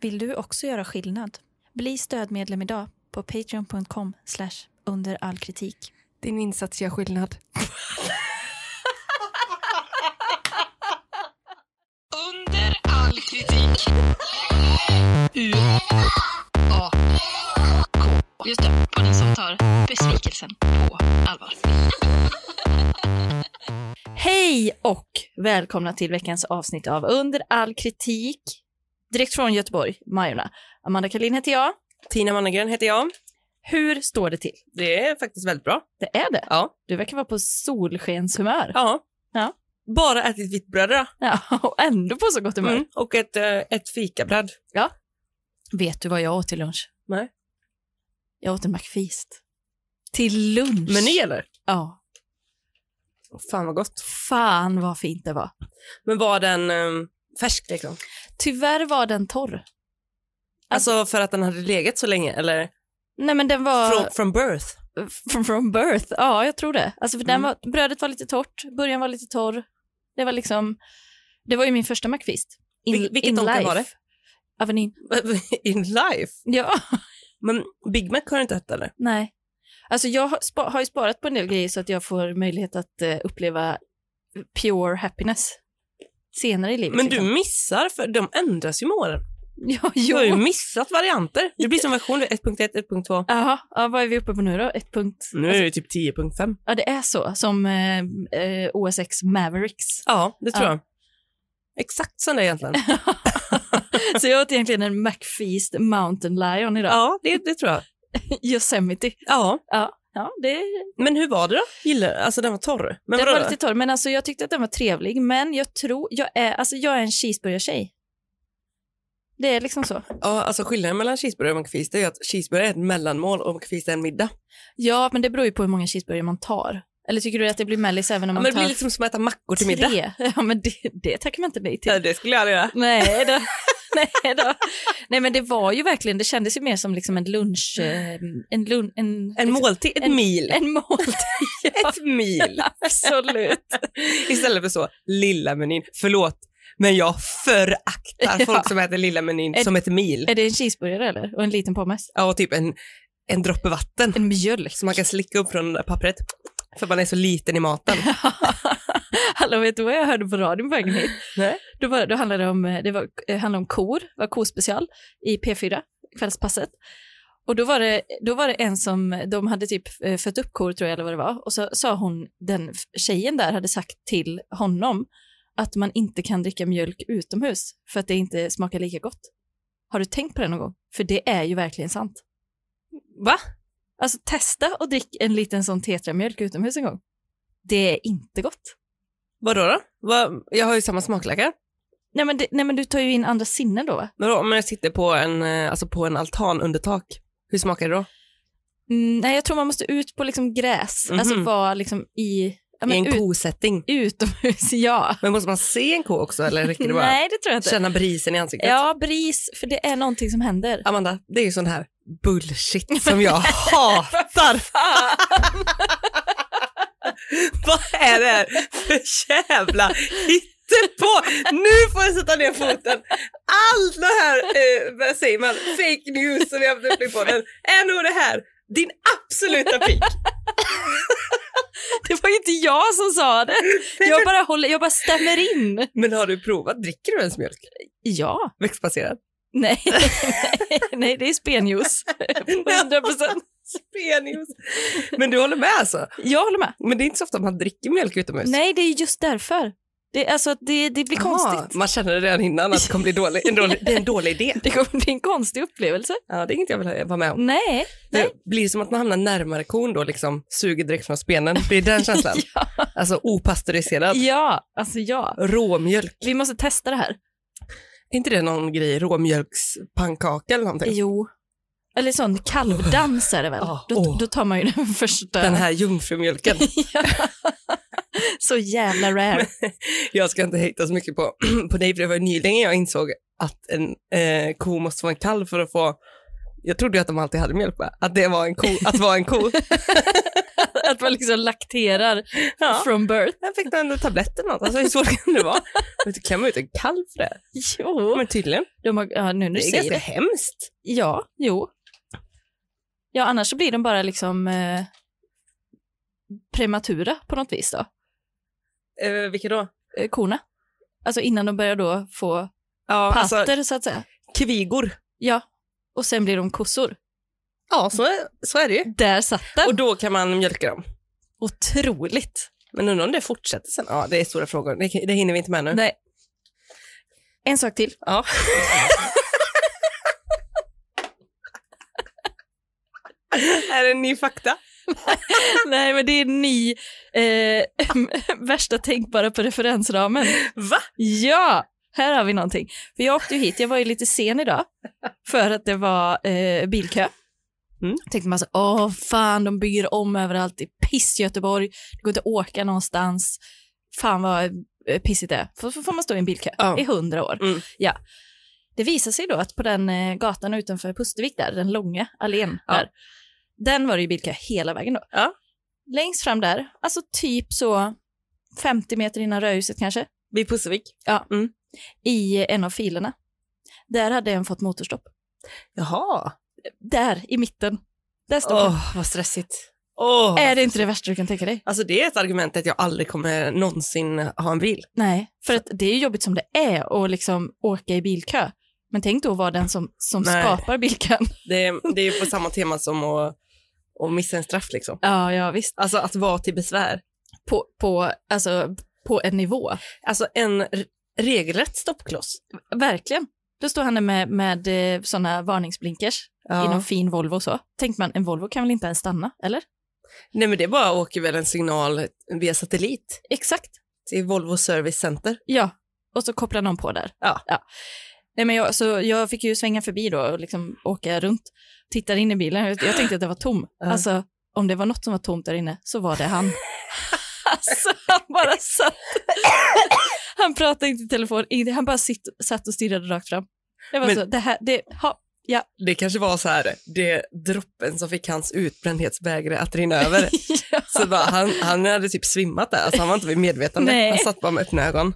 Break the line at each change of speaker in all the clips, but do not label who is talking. Vill du också göra skillnad? Bli stödmedlem idag på patreon.com under all kritik.
Din insats gör skillnad.
Under all kritik. U A K. Just det, på den som tar besvikelsen på allvar.
Hej och välkomna till veckans avsnitt av Under all kritik. Direkt från Göteborg, Majorna. Amanda Kalin heter jag.
Tina Mannegren heter jag.
Hur står det till?
Det är faktiskt väldigt bra.
Det är det.
Ja.
Du verkar vara på solskenshumör.
Ja.
Ja.
Bara ätit vitt bröd idag.
Ja, och ändå på så gott humör.
Mm. Och ett, eh, ett fikabröd.
Vet du vad jag åt till lunch?
Nej.
Jag åt en McFeast. Till lunch?
Meny eller?
Ja.
Åh, Fan vad gott.
Fan vad fint det var.
Men var den eh, färsk liksom?
Tyvärr var den torr.
Alltså för att den hade legat så länge eller?
Nej men den var...
From, from birth?
from, from birth. Ja, jag tror det. Alltså för den
Mm.
var, brödet var lite torrt, början var lite torr. Det var liksom, det var ju min första McFeast.
Vil- vilket donken var det?
Avenin.
In life?
Ja,
Men Big Mac har du inte ätit eller?
nej. Alltså jag har, spa, har ju sparat på en del grejer så att jag får möjlighet att eh, uppleva pure happiness senare i livet.
Men du
liksom.
missar, för de ändras ju med åren.
Ja,
Du har ju
jo.
missat varianter. Det blir som version 1.1, 1.2.
Jaha, ja, vad är vi uppe på nu då? Ett punkt...
Nu är det typ 10.5.
Ja, det är så, som eh, eh, OSX Mavericks.
Ja, det tror
Ja.
jag. Exakt som det egentligen.
Så jag åt egentligen en McFeast Mountain Lion idag.
ja, det, det tror jag.
Yosemite.
Ja.
Ja, det,
Men hur var det då? Gillar, alltså den var torr. Men
den
vadå
var
då?
lite torr, men alltså, jag tyckte att den var trevlig. Men jag tror, jag är, alltså, jag är en cheeseburgartjej. Det är liksom så.
Ja, alltså skillnaden mellan cheeseburgare och McFeast det är ju att cheeseburgare är ett mellanmål och McFeast är en middag.
Ja, men det beror ju på hur många cheeseburgare man tar. Eller tycker du att det blir mellis även om man
Ja, men det
tar
blir lite som att äta mackor till middag.
tre? Ja, men det, det tackar man inte nej till.
Ja, det skulle jag aldrig göra.
Nej då. nej då. Nej, men det var ju verkligen, det kändes ju mer som liksom en lunch... eh, En, lun, en,
En
liksom,
måltid, ett
en-
mil.
En måltid, ja,
Ett mil.
absolut.
Istället för så, lilla menyn. Förlåt, men jag föraktar
Ja.
folk som äter lilla menyn
Ett-
som ett mil.
Är det en cheeseburgare eller? Och en liten pommes?
Ja, och typ en, en droppe vatten
En mjölk.
som man kan slicka upp från det där pappret. För man är så liten i maten.
Hallå, vet du vad jag hörde på radion på vägen hit?
Nej.
Då, var, då handlade det om, eh, det var, eh, handlade om kor, det var kospecial i P4, kvällspasset. Och då var, det, då var det en som, de hade typ eh, fött upp kor tror jag eller vad det var, och så sa hon, den f- tjejen där hade sagt till honom att man inte kan dricka mjölk utomhus för att det inte smakar lika gott. Har du tänkt på det någon gång? För det är ju verkligen sant.
Va?
Alltså testa och drick en liten sån tetramjölk utomhus en gång. Det är inte gott.
Vadå då? Va? Jag har ju samma smaklökar.
Nej men, det, nej men du tar ju in andra sinnen då va?
Men då, om jag sitter på en, eh, alltså på en altan under tak, hur smakar det då?
Mm, nej jag tror man måste ut på liksom gräs,
Mhm.
alltså vara liksom i, ja,
I
men
en
ut,
kosättning.
utomhus, ja.
Men måste man se en ko också eller räcker det bara
nej det tror jag
att
inte.
känna brisen i ansiktet?
Ja, bris, för det är någonting som händer.
Amanda, det är ju sån här bullshit som jag hatar. Vad är det här för jävla på? Nu får jag sätta ner foten. Allt det här, eh, vad säger man, fake news som vi har haft uppe i podden är nog det här. Din absoluta pick.
Det var ju inte jag som sa det. Jag bara, håller, jag bara stämmer in.
Men har du provat, dricker du ens mjölk?
Ja,
Växtbaserad?
nej, nej, nej det är spenjuice. 100 procent.
Spenius. Men du håller med alltså?
Jag håller med.
Men det är inte så ofta man dricker mjölk utomhus.
Nej, det är just därför. Det, alltså, att det, det blir konstigt.
Ah, man känner det redan innan att det kommer bli dålig, en dålig, det är en dålig idé.
Det kommer bli en konstig upplevelse.
Ja, det är inget jag vill vara med om.
Nej.
Det blir som att man hamnar närmare kon då, liksom suger direkt från spenen. Det är den känslan.
Ja.
Alltså opastöriserad.
Ja, alltså ja.
Råmjölk.
Vi måste testa det här.
Är inte det någon grej, råmjölkspannkaka eller någonting?
Jo. Eller sån kalvdans är det väl?
Ja,
då,
Ah, åh.
då tar man ju den första.
Den här jungfrumjölken.
Ja. Så jävla rare.
Jag ska inte hejta så mycket på, på dig, för det var ju nyligen jag insåg att en eh, ko måste få en kalv för att få Jag trodde ju att de alltid hade mjölk bara. Att det var en ko, att vara en ko.
Att man liksom lakterar
Ja.
from birth.
Jag fick någon tablett eller något, alltså hur svårt kan det vara? Men du klämmer ut en kalv för det.
Jo,
Men tydligen,
de har, ja, nu när du
det är
säger
ganska
det.
hemskt.
Ja, jo. Ja, annars så blir de bara liksom eh, prematura på något vis då,
Eh, vilka då?
eh, korna. Alltså innan de börjar då få
Ja,
patter
alltså
så att säga.
kvigor.
Ja, och sen blir de kossor.
Ja, så är, så är det ju.
Där satt den.
Och då kan man mjölka dem.
Otroligt.
Men undrar om det fortsätter sen? Ja, det är stora frågor. Det, det hinner vi inte med nu.
Nej. En sak till.
Ja. är det en ny fakta?
Nej, men det är ny eh, värsta tänkbara på referensramen.
Va?
Ja, här har vi någonting. För jag åkte ju hit, jag var ju lite sen idag för att det var eh, bilkö.
Mm.
Tänkte man så, åh fan, de bygger om överallt, det är piss i Göteborg, det går inte att åka någonstans, fan vad eh, pissigt det är. Så får man stå i en bilkö
Ja.
i hundra år.
Mm.
Ja. Det visar sig då att på den eh, gatan utanför Pustervik där, den långa allén
Ja.
där, den var det ju bilkö hela vägen då.
Ja.
Längst fram där, alltså typ så 50 meter innan rödhuset kanske,
Vid Pussevik?
i en av filerna. Där hade en fått motorstopp.
Jaha.
Där i mitten. Där står
Åh,
den.
vad stressigt. Åh.
Är det inte det värsta du kan tänka dig?
Eh, Alltså det är ett argument att jag aldrig kommer någonsin ha en bil.
Nej, för att det är ju jobbigt som det är att liksom åka i bilkö. Men tänk då att vara den som, som
Nej.
skapar bilkön.
Det är, det är på samma tema som att, att missa en straff liksom.
Ja, ja visst.
Alltså att vara till besvär.
På, på, alltså, på en nivå.
Alltså en r- regelrätt stoppkloss.
Verkligen. Då står han där med, med sådana varningsblinkers i någon fin Volvo och så. Tänkte man, en Volvo kan väl inte ens stanna, eller?
Nej men det bara åker väl en signal via satellit
Exakt.
till Volvo Service Center.
Ja, och så kopplar någon på där.
Ja.
Nej, men jag, så jag fick ju svänga förbi då och liksom åka runt, tittade in i bilen. Jag jag tänkte att det var tom.
Ja.
Alltså, om det var något som var tomt där inne så var det han. alltså, han bara satt. han pratade inte i telefon, inte- han bara sitt, satt och stirrade rakt fram. Det var
Men-
så, det här, det, ha,
Det kanske var så här, det droppen som fick hans utbrändhetsbägare att rinna över. så bara, han, han hade typ svimmat där, alltså han var inte vid medvetande.
Nej.
Han satt bara med öppna ögon.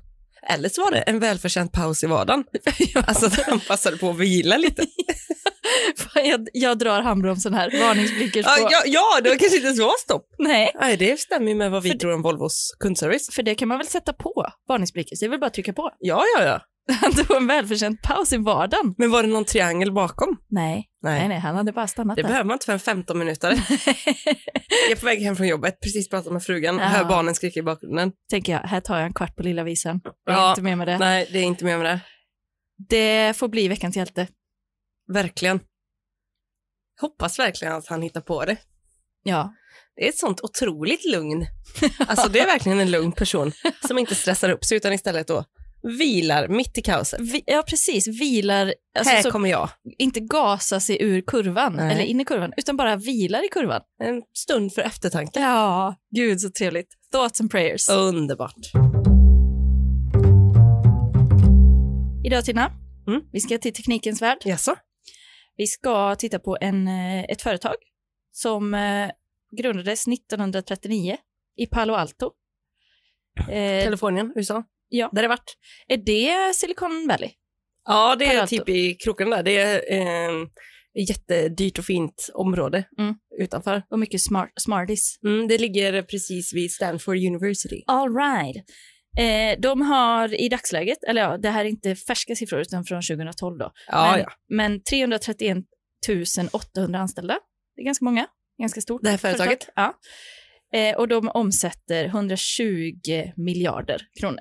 Eller så var det en välförtjänt paus i vardagen. Alltså att han passade på att vila lite.
fan, jag, jag drar handbromsen här, varningsblinkers på.
Ja, ja, ja det var kanske inte så stopp.
Nej,
Nej, det stämmer ju med vad vi
För det-
tror om Volvos kundservice.
för det kan man väl sätta på, varningsblinkers, det är väl bara att trycka på.
Ja, ja, ja.
Han tog en välförtjänt paus i vardagen.
Men var det någon triangel bakom?
Nej,
Nej,
Nej, nej, han hade bara stannat
det
där.
behöver man inte för en 15 minuter. jag är på väg hem från jobbet, precis pratat med frugan,
Ja.
hör barnen skrika i bakgrunden.
Tänker jag, här tar jag en kvart på lilla visan. Jag är
Ja.
inte med med det.
Nej, det är inte med om det.
Det får bli veckans hjälte.
Verkligen. Hoppas verkligen att han hittar på det.
Ja,
Det är ett sånt otroligt lugn. Alltså det är verkligen en lugn person som inte stressar upp sig utan istället då vilar mitt i kaoset.
Vi, ja precis. Vilar,
här
alltså, så,
kommer jag.
inte gasa sig ur kurvan
Nej.
eller in i kurvan, utan bara vilar i kurvan.
En stund för eftertanke.
Ja, gud så trevligt. Thoughts and prayers.
Oh. Underbart.
Idag Tina,
Mm.
vi ska till teknikens värld.
Jaså?
Vi ska titta på en, eh, ett företag som eh, grundades 1939 i Palo Alto. Eh,
Kalifornien, USA.
Ja.
Där har det varit.
är det Silicon Valley?
Ja, det
Palo
är
Alto.
typ i kroken där. Det är eh, ett jättedyrt och fint område
Mm.
utanför.
Och mycket smart, smarties.
Mm, det ligger precis vid Stanford University.
All right. Eh, de har i dagsläget, eller ja, det här är inte färska siffror utan från 2012 då,
Ja,
Men-
ja.
men 331 800 anställda. Det är ganska många, ganska stort.
Det här företaget.
Företag. Ja. Eh, och de omsätter 120 miljarder kronor.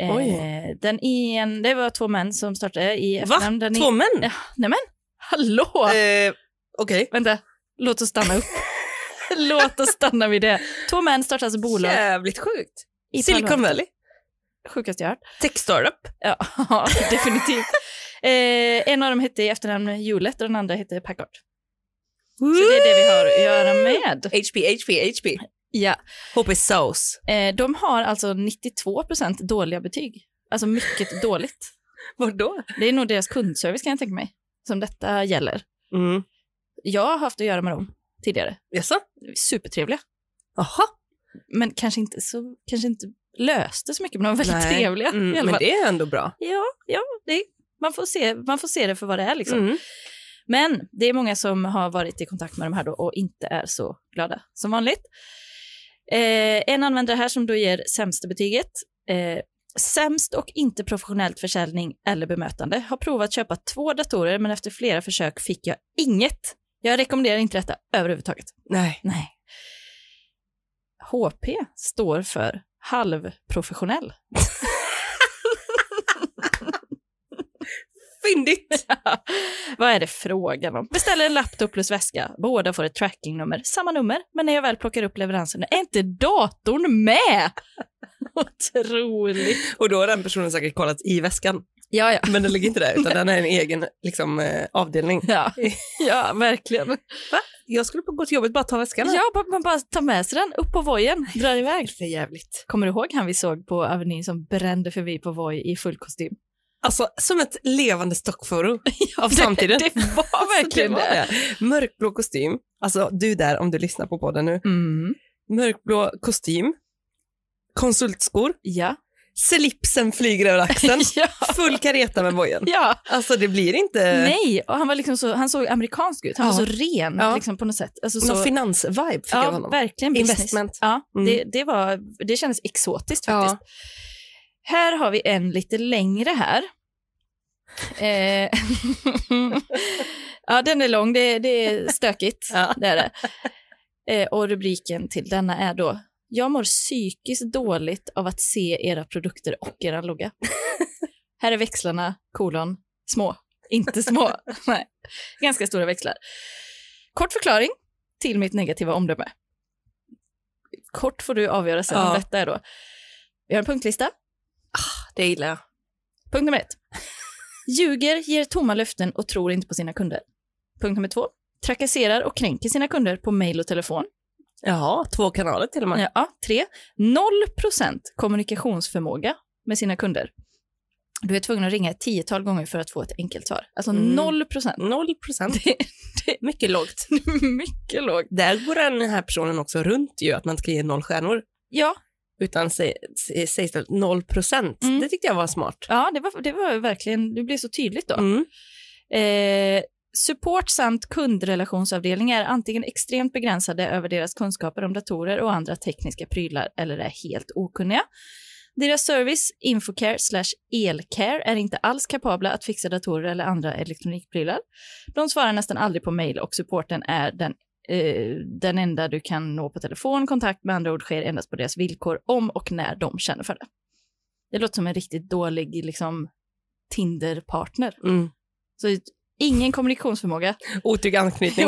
Eh,
Oj.
Den en, det var två män som startade i
Va?
efternamn. Den
Två män?
Ja. Hallå!
Eh, Okej.
Vänta, låt oss stanna upp. låt oss stanna vid det. Två män startade alltså bolag
Jävligt sjukt.
i Palo
Silicon
Alto.
Valley.
Sjukaste jag hört.
Tech startup.
Ja, definitivt. Eh, en av dem hette i efternamn Hewlett och den andra hette Packard. Så det är det vi har att göra med.
HP, HP, HP.
Ja.
HP Sauce.
Eh, de har alltså 92 procent dåliga betyg. Alltså mycket dåligt.
Vadå?
Det är nog deras kundservice kan jag tänka mig, som detta gäller.
Mm.
Jag har haft att göra med dem tidigare.
Jaså?
Supertrevliga.
Jaha.
Men kanske inte, så, kanske inte löste så mycket, men de var väldigt
Nej.
trevliga
Mm,
i alla
men
fall.
det är ändå bra.
Ja, ja det, man, får se, man får se det för vad det är liksom.
Mm.
Men det är många som har varit i kontakt med de här då och inte är så glada som vanligt. Eh, en användare här som då ger sämsta betyget. Eh, sämst och inte professionellt försäljning eller bemötande. Har provat köpa två datorer men efter flera försök fick jag inget. Jag rekommenderar inte detta överhuvudtaget.
Nej.
Nej. HP står för halvprofessionell.
Fyndigt!
Vad är det frågan om? Beställer en laptop plus väska. Båda får ett trackingnummer. Samma nummer, men när jag väl plockar upp leveransen är inte datorn med! Otroligt.
Och då har den personen säkert kollat i väskan.
Ja, ja.
Men den ligger inte där, utan den är en egen liksom, eh, avdelning.
Ja, ja verkligen.
Jag skulle gå till jobbet bara ta väskan.
Ja, bara- man bara tar med sig den upp på vojen, drar iväg.
För jävligt.
Kommer du ihåg han vi såg på Avenyn som brände förbi på voj i full kostym?
Alltså som ett levande stockforo av samtiden.
Det, det var verkligen
Alltså,
det.
var Mörkblå kostym. Alltså du där om du lyssnar på podden nu.
Mm.
Mörkblå kostym. Konsultskor.
Ja.
Slipsen flyger över axeln.
ja.
Full kareta med bojen.
ja.
Alltså det blir inte
Nej, och han, var liksom så, han såg amerikansk ut. Han
Ja.
var så ren
Ja.
liksom, på något sätt. Alltså, så,
någon finansvibe fick jag av
ja,
honom.
verkligen business.
Investment.
Ja,
Mm.
det, det, var, det kändes exotiskt
Ja.
faktiskt. Här har vi en lite längre här. Eh, ja, den är lång, det, det är stökigt.
Ja.
Det är det. Eh, och rubriken till denna är då Jag mår psykiskt dåligt av att se era produkter och era logga. här är växlarna, kolon, små. Inte små, nej. Ganska stora växlar. Kort förklaring till mitt negativa omdöme. Kort får du avgöra sen
Ja.
om detta är då. Vi har en punktlista.
Det gillar jag.
Punkt nummer ett. Ljuger, ger tomma löften och tror inte på sina kunder. Punkt nummer två. Trakasserar och kränker sina kunder på mejl och telefon.
Jaha, två kanaler till och med.
Ja, tre. Noll procent kommunikationsförmåga med sina kunder. Du är tvungen att ringa ett tiotal gånger för att få ett enkelt svar. Alltså
Mm.
noll procent.
Noll procent.
Det-
Mycket lågt.
Mycket lågt.
Där går den här personen också runt ju, att man ska ge noll stjärnor.
Ja,
Utan säg, säg säg istället noll procent.
Mm.
Det tyckte jag var smart.
ja det, var, det var verkligen, det blev så tydligt då.
Mm.
Eh, support samt kundrelationsavdelningar är antingen extremt begränsade över deras kunskaper om datorer och andra tekniska prylar eller är helt okunniga. Deras service, infocare slash elcare, är inte alls kapabla att fixa datorer eller andra elektronikprylar. De svarar nästan aldrig på mejl och supporten är den, eh, den enda du kan nå på telefon. Kontakt med andra ord sker endast på deras villkor om och när de känner för det. Det låter som en riktigt dålig liksom, Tinder-partner.
Mm.
Så ingen kommunikationsförmåga.
Otrygg anknytning.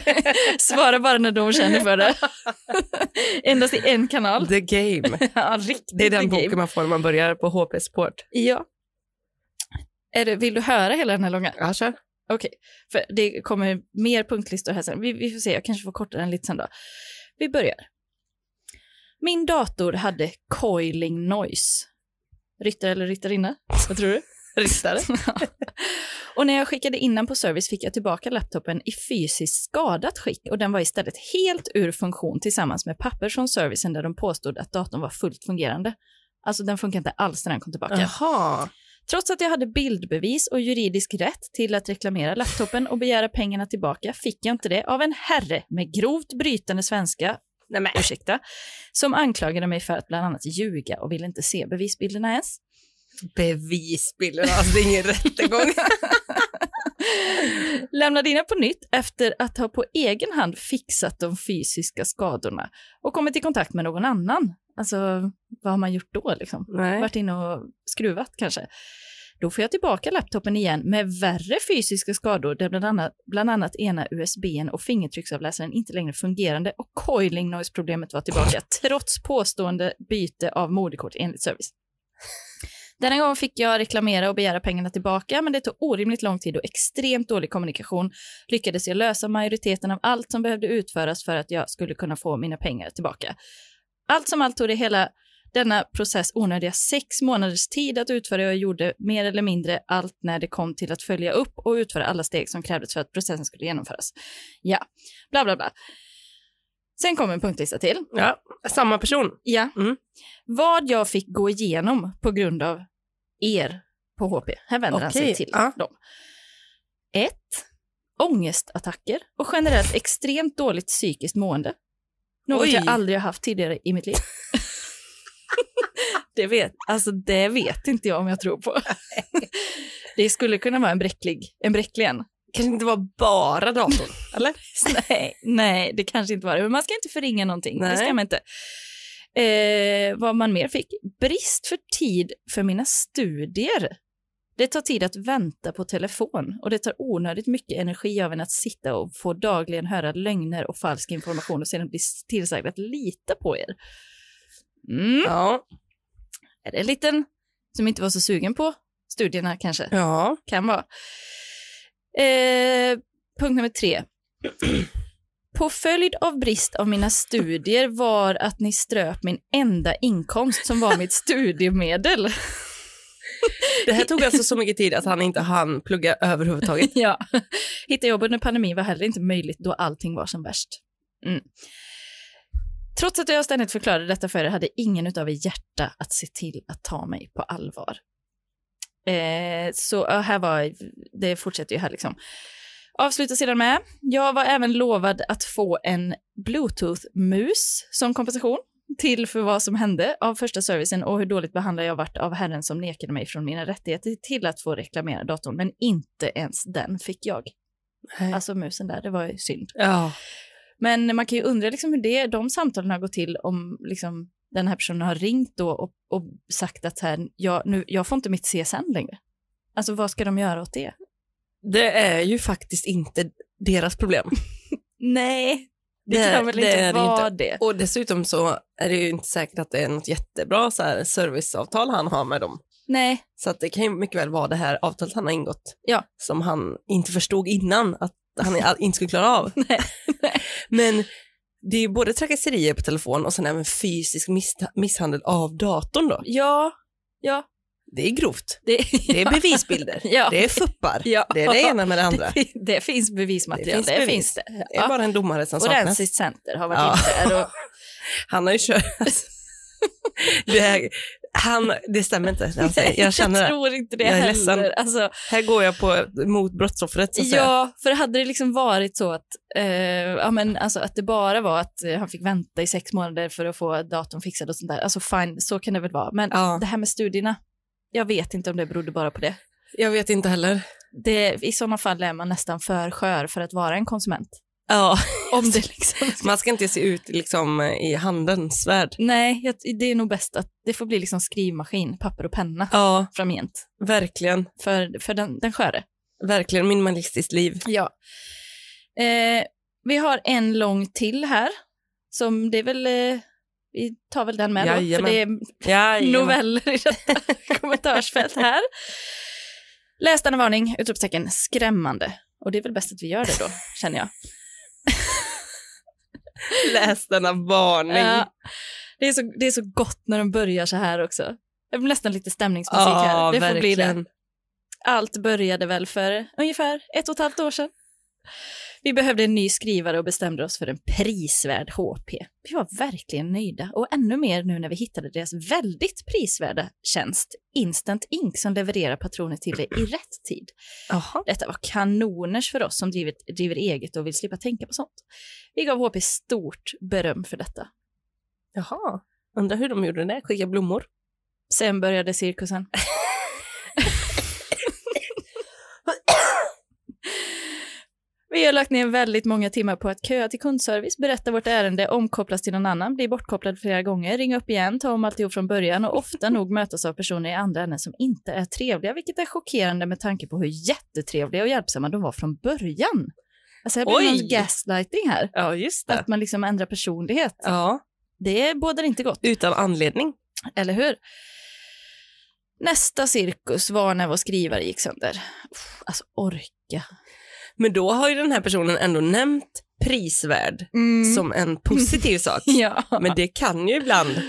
Svara bara när de känner för det. Endast i en kanal.
The game.
Ja, riktigt
Det är den
game.
boken man får när man börjar på HP Sport.
Ja. Är det, vill du höra hela den här långa?
Ja, kör.
Okej, för det kommer mer punktlistor här sen. Vi, vi får se, jag kanske får korta den lite sen då. Vi börjar. Min dator hade coiling noise. Ryttare eller ryttarinna? Vad tror du?
Ryttare.
och när jag skickade in den på service fick jag tillbaka laptopen i fysiskt skadat skick och den var istället helt ur funktion tillsammans med papper från servicen där de påstod att datorn var fullt fungerande. Alltså den funkar inte alls när den kom tillbaka.
Jaha.
Trots att jag hade bildbevis och juridisk rätt till att reklamera laptopen och begära pengarna tillbaka fick jag inte det av en herre med grovt brytande svenska,
Nej, men.
ursäkta, som anklagade mig för att bland annat ljuga och ville inte se bevisbilderna ens.
Bevisbilder, alltså det är ingen rättegång.
Lämnade in den på nytt efter att ha på egen hand fixat de fysiska skadorna och kommit i kontakt med någon annan. Alltså, vad har man gjort då liksom?
Nej.
Varit inne och skruvat kanske. Då får jag tillbaka laptopen igen med värre fysiska skador där bland annat, bland annat ena USBn och fingertrycksavläsaren inte längre fungerande och coiling noise-problemet var tillbaka trots påstående byte av moderkort enligt service. Denna gång fick jag reklamera och begära pengarna tillbaka men det tog orimligt lång tid och extremt dålig kommunikation lyckades jag lösa majoriteten av allt som behövde utföras för att jag skulle kunna få mina pengar tillbaka. Allt som allt tog det hela denna process onödiga sex månaders tid att utföra och jag gjorde mer eller mindre allt när det kom till att följa upp och utföra alla steg som krävdes för att processen skulle genomföras. Ja, bla bla bla. Sen kom en punktlista till.
Ja, samma person.
Ja.
Mm.
Vad jag fick gå igenom på grund av er på HP. Här vänder han sig
Okej,
till
ja.
dem. 1. Ångestattacker och generellt extremt dåligt psykiskt mående. Något
Oj.
jag aldrig har haft tidigare i mitt liv. det, vet, alltså det vet inte jag om jag tror på. det skulle kunna vara en bräcklig, en bräcklig en.
Kan det inte vara bara datorn? Eller?
Nej, nej, det kanske inte var det. Men man ska inte förringa någonting. Det
Nej.
ska man inte. Eh, vad man mer fick? Brist för tid för mina studier. Det tar tid att vänta på telefon och det tar onödigt mycket energi av en att sitta och få dagligen höra lögner och falsk information och sedan bli tillsagd att lita på er. Mm.
Ja.
Är det en liten som inte var så sugen på studierna kanske?
Ja.
kan vara. Eh, punkt nummer tre. På följd av brist av mina studier var att ni ströp min enda inkomst som var mitt studiemedel.
Det här tog alltså så mycket tid att han inte hann plugga överhuvudtaget.
ja. Hitta jobb under pandemin var heller inte möjligt då allting var som värst. Mm. Trots att jag ständigt förklarade detta för er hade ingen av er hjärta att se till att ta mig på allvar. Eh, så ja, här var, det fortsätter ju här liksom. Avslutar sedan med, jag var även lovad att få en bluetooth-mus som kompensation till för vad som hände av första servicen och hur dåligt behandlad jag varit av herren som nekade mig från mina rättigheter till att få reklamera datorn, men inte ens den fick jag. Alltså musen där, det var ju synd.
Ja.
Men man kan ju undra liksom hur det, de samtalen har gått till om liksom den här personen har ringt då och, och sagt att här, jag, nu, jag får inte mitt CSN längre. Alltså vad ska de göra åt det?
Det är ju faktiskt inte deras problem.
Nej, det,
Det-
kan väl
det
inte
är det
vara det.
Och dessutom så är det ju inte säkert att det är något jättebra så här serviceavtal han har med dem.
Nej,
Så att det kan ju mycket väl vara det här avtalet han har ingått
Ja.
som han inte förstod innan att han inte skulle klara av.
Nej, nej.
Men det är ju både trakasserier på telefon och sen även fysisk missha- misshandel av datorn då.
ja, ja.
Det är grovt.
Det,
Det är bevisbilder.
Ja.
Det är fuppar.
Ja.
Det är det ena med det andra.
Det, fin- det finns bevismaterial,
Det finns
det finns det.
bevis. Det är
Ja.
bara en domare som saknas.
Forensiskt center har varit
Ja.
inne där och
Han har ju kört... det, här, han, det stämmer inte, det han säger. Jag känner det.
tror inte det
Jag är
heller.
ledsen.
Alltså,
Här går jag på, mot brottsoffret så att säga.
ja, för hade det liksom varit så att, eh, ja, men, alltså, att det bara var att eh, han fick vänta i sex månader för att få datorn fixad och sånt där, alltså fine, så kan det väl vara. Men
Ja.
det här med studierna, jag vet inte om det berodde bara på det.
Jag vet inte heller.
det I sådana fall är man nästan för skör för att vara en konsument.
Ja.
Om det liksom...
Man ska inte se ut liksom i handens värld.
Nej, jag, det är nog bäst att det får bli liksom skrivmaskin, papper och penna
Ja,
framgent
verkligen.
för, för den, den sköre.
Verkligen minimalistiskt liv.
Ja. Eh, vi har en lång till här. Som det är väl, eh, vi tar väl den med då, för
Jajamän.
det är
Ja,
noveller i detta kommentarsfält här. Läs denna varning, utropstecken skrämmande. Och det är väl bäst att vi gör det då, känner jag.
Läs denna varning.
Ja. det, är så, det är så gott när de börjar så här också. Det blir nästan lite stämningsmusik här.
Ja,
Det får bli det.
verkligen.
Allt började väl för ungefär ett och ett halvt år sedan. Vi behövde en ny skrivare och bestämde oss för en prisvärd HP. Vi var verkligen nöjda och ännu mer nu när vi hittade deras väldigt prisvärda tjänst Instant Ink som levererar patroner till er i rätt tid.
Jaha.
Detta var kanoners för oss som drivit, driver eget och vill slippa tänka på sånt. Vi gav HP stort beröm för detta.
Jaha. Undrar hur de gjorde det, skicka blommor.
Sen började cirkusen. Vi har lagt ner väldigt många timmar på att köa till kundservice, berätta vårt ärende, omkopplas till någon annan, bli bortkopplad flera gånger, ringa upp igen, ta om alltihop från början och ofta nog mötas av personer i andra änden som inte är trevliga, vilket är chockerande med tanke på hur jättetrevliga och hjälpsamma de var från början. Alltså här blir det
Oj.
någon gaslighting här.
Ja, just
Att man liksom ändrar personlighet.
Ja,
Det bådar inte gott.
utan anledning.
Eller hur? Nästa cirkus var när vår skrivare gick sönder. Uff, alltså orka.
Men då har ju den här personen ändå nämnt prisvärd
Som,
som en positiv sak.
Mm. ja.
Men det kan ju ibland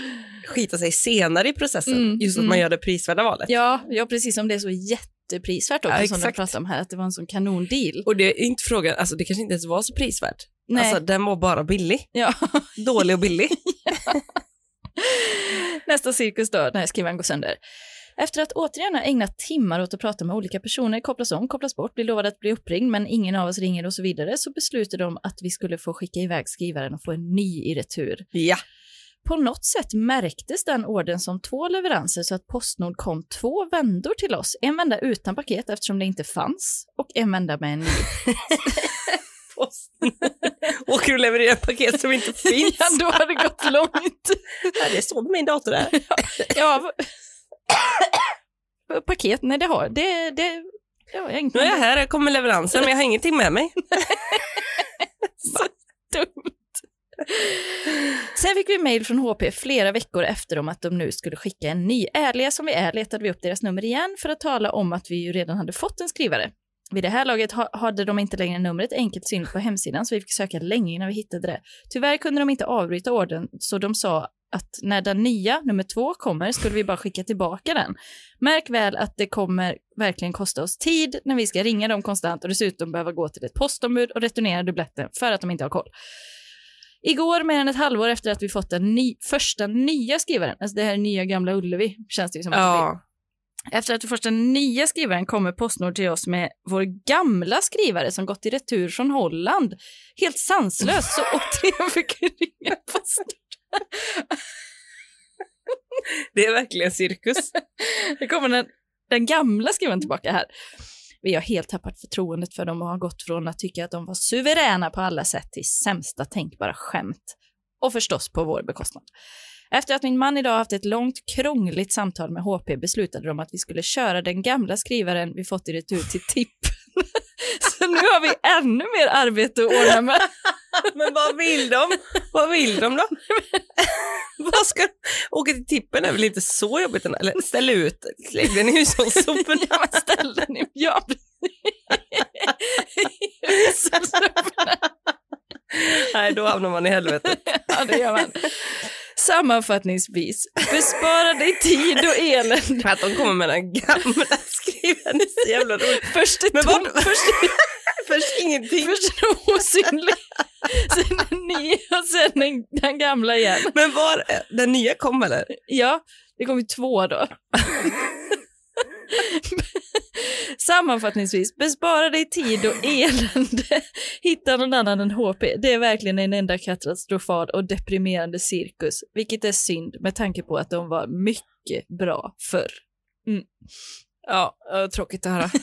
skita sig senare i processen,
Mm,
just att
mm.
man gör det prisvärda valet.
Ja, ja, precis som det är så jätteprisvärt också
Ja,
som de
exakt.
pratade om här, att det var en sån kanondeal.
Och det är inte frågan, alltså det kanske inte ens var så prisvärt.
Nej,
Alltså den var bara billig.
ja.
Dålig och billig.
Nästa cirkus då, när skrivaren går sönder. Efter att återigen ha ägnat timmar åt att prata med olika personer, kopplas om, kopplas bort, blir lovad att bli uppringd, men ingen av oss ringer och så vidare, så beslutar de att vi skulle få skicka iväg skrivaren och få en ny i retur.
ja.
På något sätt märktes den orden som två leveranser så att Postnord kom två vändor till oss. En vända utan paket eftersom det inte fanns och en vända med en ny.
Åker och levererar paket som inte finns.
Ja, då har det gått långt.
Ja, det står på min dator där.
Ja. v- Paket, nej det har, det, det, ja, jag har
Nu är jag
inget
här, jag kommer med leveransen men jag har ingenting med mig.
dumt. Sen fick vi mejl från HP flera veckor efter om att de nu skulle skicka en ny. Ärliga som vi är letade vi upp deras nummer igen för att tala om att vi ju redan hade fått en skrivare. Vid det här laget ha- hade de inte längre numret enkelt synligt på hemsidan så vi fick söka länge innan vi hittade det. Tyvärr kunde de inte avbryta orden så de sa att när den nya, nummer två, kommer skulle vi bara skicka tillbaka den. Märk väl att det kommer verkligen kosta oss tid när vi ska ringa dem konstant och dessutom behöva gå till ett postombud och returnera dubbletten för att de inte har koll. Igår, mer än ett halvår efter att vi fått den ny, första nya skrivaren, alltså det här är nya gamla Ullevi, känns det ju som att det blir. Efter att vi fått den nya skrivaren kommer Postnord till oss med vår gamla skrivare som gått i retur från Holland. Helt sanslöst, så återigen fick vi ringa Postnord.
Det är verkligen cirkus.
Det kommer den, den gamla skrivaren tillbaka här. Vi har helt tappat förtroendet för dem och har gått från att tycka att de var suveräna på alla sätt till sämsta tänkbara skämt. Och förstås på vår bekostnad. Efter att min man idag haft ett långt krångligt samtal med HP beslutade de att vi skulle köra den gamla skrivaren vi fått i retur till tipp. Så nu har vi ännu mer arbete att ordna med.
Men vad vill de? Vad vill de då? vad ska... Åka till tippen är väl inte så jobbigt? ändå? Eller ställa ut, lägg den i hushållssoporna.
Ja, men ställ den i ja, precis.
Nej, då hamnar man i helvetet.
Ja, det gör man. Sammanfattningsvis, bespara dig tid och elände.
Att de kommer med den gamla skriven, det är så jävla roligt.
Först är
Men
tom,
vad-
först,
Först ingenting,
först är den osynlig, sen en ny och sen den, den gamla igen.
men var... Den nya kom eller?
Ja, det kom ju två då. Sammanfattningsvis, bespara dig tid och elände. Hitta någon annan än HP. Det är verkligen en enda katastrofal och deprimerande cirkus, vilket är synd med tanke på att de var mycket bra förr.
Ja, eh, tråkigt att höra.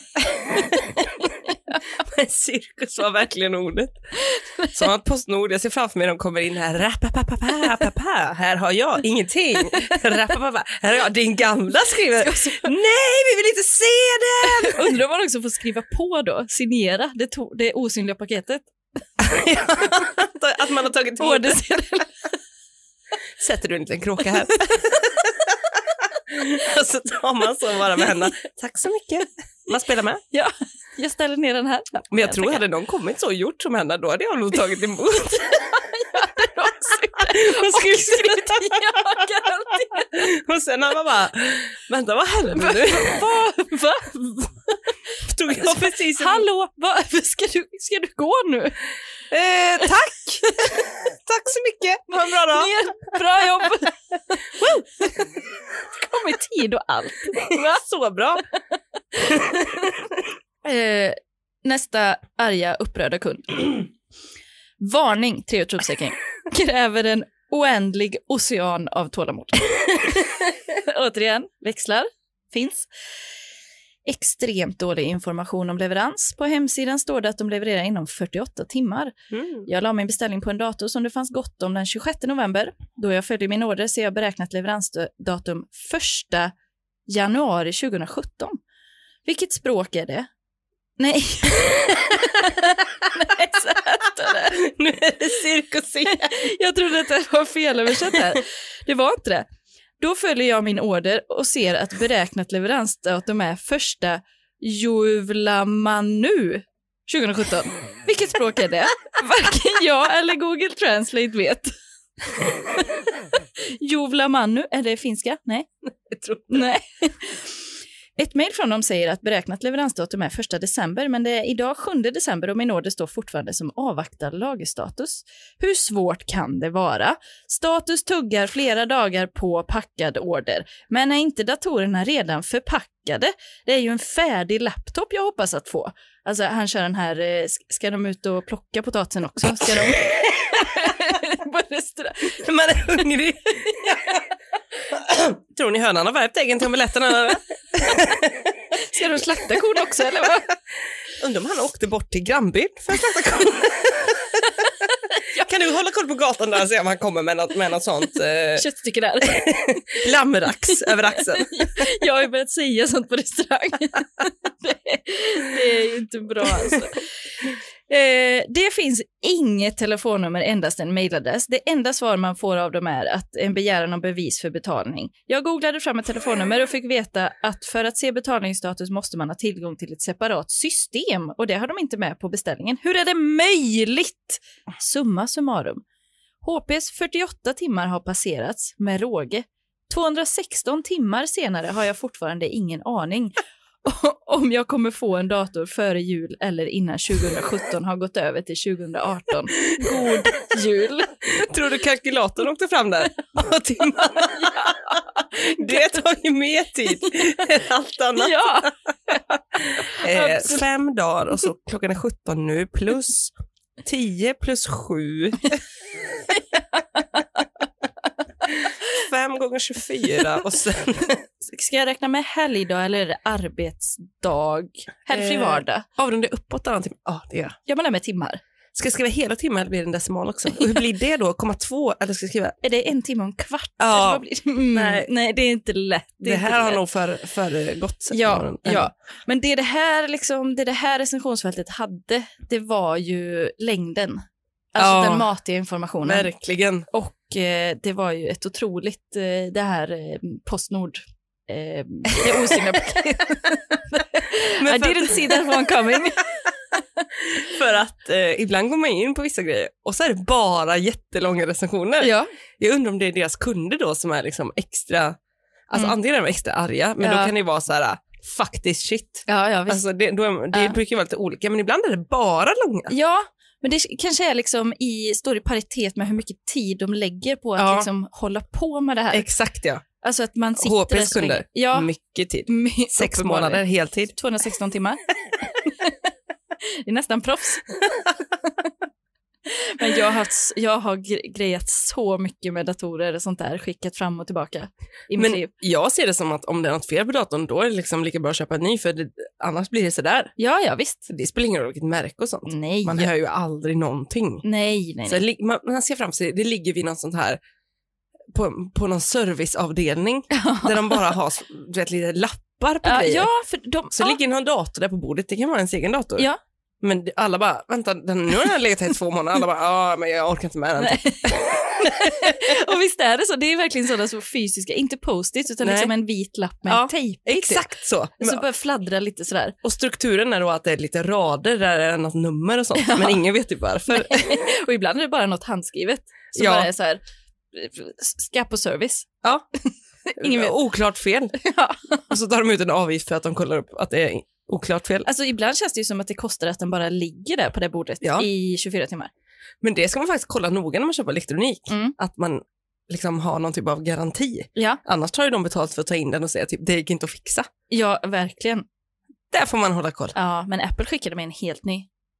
Men cirkus var verkligen ordet. Som att Postnord, jag ser framför mig de kommer in här, rapapapapapapa, här har jag ingenting, rapapapa, här har jag din gamla skriver, nej vi vill inte se den!
Undrar om man också får skriva på då, signera det, to- det osynliga paketet.
att man har tagit emot det.
Ordersedeln.
Sätter du en liten kråka här? Och så tar man så bara med händerna, tack så mycket, man spelar med.
Jag ställer ner den här.
Men jag tror hade någon kommit så och gjort som henne, då hade jag nog tagit emot. Och
Skriv
skrivit
tillbaka den.
Och sen när man bara, vänta vad hände nu?
Va? Va?
Tog jag precis en...
Hallå, va? Ska, du, ska du gå nu?
Eh, tack! tack så mycket, ha en bra dag.
Ner. Bra jobb! Wow. Kom i tid och allt.
Så bra.
Eh, nästa arga upprörda kund. Varning, tre utropstecken. Kräver en oändlig ocean av tålamod. Återigen, växlar, finns. Extremt dålig information om leverans. På hemsidan står det att de levererar inom 48 timmar.
Mm.
Jag la min beställning på en dator som det fanns gott om den 26 november. Då jag följde min order ser jag beräknat leveransdatum 1 januari 2017. Vilket språk är det? Nej. Nej, så här står det.
Nu är det cirkus igen.
Jag trodde att det var felöversatt här. Det var inte det. Då följer jag min order och ser att beräknat leveransdatum är första Juvlamanu 2017. Vilket språk är det? Varken jag eller Google Translate vet. Jovla Mannu, är det finska? Nej.
Jag tror inte.
Nej. Ett mejl från dem säger att beräknat leveransdatum är 1 december, men det är idag 7 december och min order står fortfarande som avvaktad lagerstatus. Hur svårt kan det vara? Status tuggar flera dagar på packad order, men är inte datorerna redan förpackade? Det är ju en färdig laptop jag hoppas att få. Alltså han kör den här, eh, s- ska de ut och plocka potatisen också? Ska de... på restaurang?
När man är hungrig. Tror ni hönan har värpt äggen till omeletten? eller?
Ska de slakta kon också eller vad?
Undrar om han åkte bort till grannbyn för att slakta kon. Kan du hålla koll på gatan där och se om han kommer med något, med något sånt eh,
Köttstycke där.
lammrax över axeln?
Jag har ju börjat säga sånt på restaurang. det, det är ju inte bra alltså. Eh, det finns inget telefonnummer, endast en mailadress. Det enda svar man får av dem är att en begäran om bevis för betalning. Jag googlade fram ett telefonnummer och fick veta att för att se betalningsstatus måste man ha tillgång till ett separat system och det har de inte med på beställningen. Hur är det möjligt? Summa summarum. HPs 48 timmar har passerats med råge. 216 timmar senare har jag fortfarande ingen aning om jag kommer få en dator före jul eller innan 2017 har gått över till 2018. God jul!
Tror du kalkylatorn åkte fram där? Och timmarna. Det tar ju mer tid än allt annat.
Ja,
Eh,
absolut.
fem dagar och så klockan är 17 nu plus 10 plus 7. Fem gånger 24 och sen
ska jag räkna med helg då eller är det arbetsdag? Helgfri
Eh.
vardag.
avrunda uppåt varannan timme. Ja, det gör jag.
Ja, man är med timmar.
Ska jag skriva hela timmen eller blir det en decimal också? Och hur blir det då? Komma två eller ska jag skriva?
Är det en timme och en kvart?
Ja.
Eller vad blir det? Mm.
Nej.
Nej. det är inte lätt.
Det,
är inte
här har
lätt.
nog för- föregått. för
Ja, ja, men det, är det, här, liksom, det är det här recensionsfältet hade, det var ju längden. Alltså
Ja.
den matiga informationen.
Verkligen.
Och eh, det var ju ett otroligt, eh, det här eh, Postnord, eh, det osynliga paketet.
Men
I
för-
didn't see that one coming.
För att eh, ibland går man in på vissa grejer och så är det bara jättelånga recensioner.
ja.
Jag undrar om det är deras kunder då som är liksom extra, alltså
Mm.
antingen är de extra arga, men då
Ja.
kan det vara så här, ah, fuck this shit.
Ja, ja, visst.
Alltså det, då är, det
Ja.
brukar ju vara lite olika, men ibland är det bara långa.
ja, men det kanske är liksom i, står i paritet med hur mycket tid de lägger på att
Ja.
liksom hålla på med det här.
Exakt ja,
Alltså att man sitter där
HPs
så länge.
kunder.
Ja,
mycket tid.
my-
Mm. Sex
uppenbarligen.
månader heltid.
216 timmar. det är nästan proffs. Men jag har, haft, jag har gre- grejat så mycket med datorer och sånt där, skickat fram och tillbaka i mitt
Men
liv.
jag ser det som att om det är något fel på datorn, då är det liksom lika bra att köpa en ny, för det, annars blir det sådär.
Ja, ja, visst.
Så det spelar ingen roll vilket märke och sånt.
Nej,
Man hör ju aldrig någonting.
nej, nej.
Så det lig- man, man ser framför sig, det ligger vid någon sånt här, på, på någon serviceavdelning, där de bara har du vet, lite lappar på
Ja,
grejer.
ja, för de...
Så
ja.
ligger någon dator där på bordet, det kan vara ens egen dator.
Ja.
Men det- alla bara, vänta, den, nu har den här legat här i två månader. Alla bara, ja, men jag orkar inte med den.
Nej. och visst är det så, det är verkligen sådana så fysiska, inte post-its utan
Nej.
liksom en vit lapp med
Ja,
en tejp. i, typ.
Exakt så. Men,
Så bara fladdra lite sådär.
och strukturen är då att det är lite rader där det är något nummer och sånt, men ingen vet ju varför.
Och ibland är det bara något handskrivet som
Ja.
bara är så här, ska på service.
Ja.
Ingen vet.
Oklart fel.
Ja.
Och så tar de ut en avgift för att de kollar upp att det är oklart fel.
Alltså ibland känns det ju som att det kostar att den bara ligger där på det bordet
Ja.
i 24 timmar.
Men det ska man faktiskt kolla noga när man köper elektronik,
Mm.
att man liksom har någon typ av garanti.
Ja.
Annars tar ju de betalt för att ta in den och säga typ, det gick inte att fixa.
Ja, verkligen.
Där får man hålla koll.
Ja, men Apple skickade mig en helt ny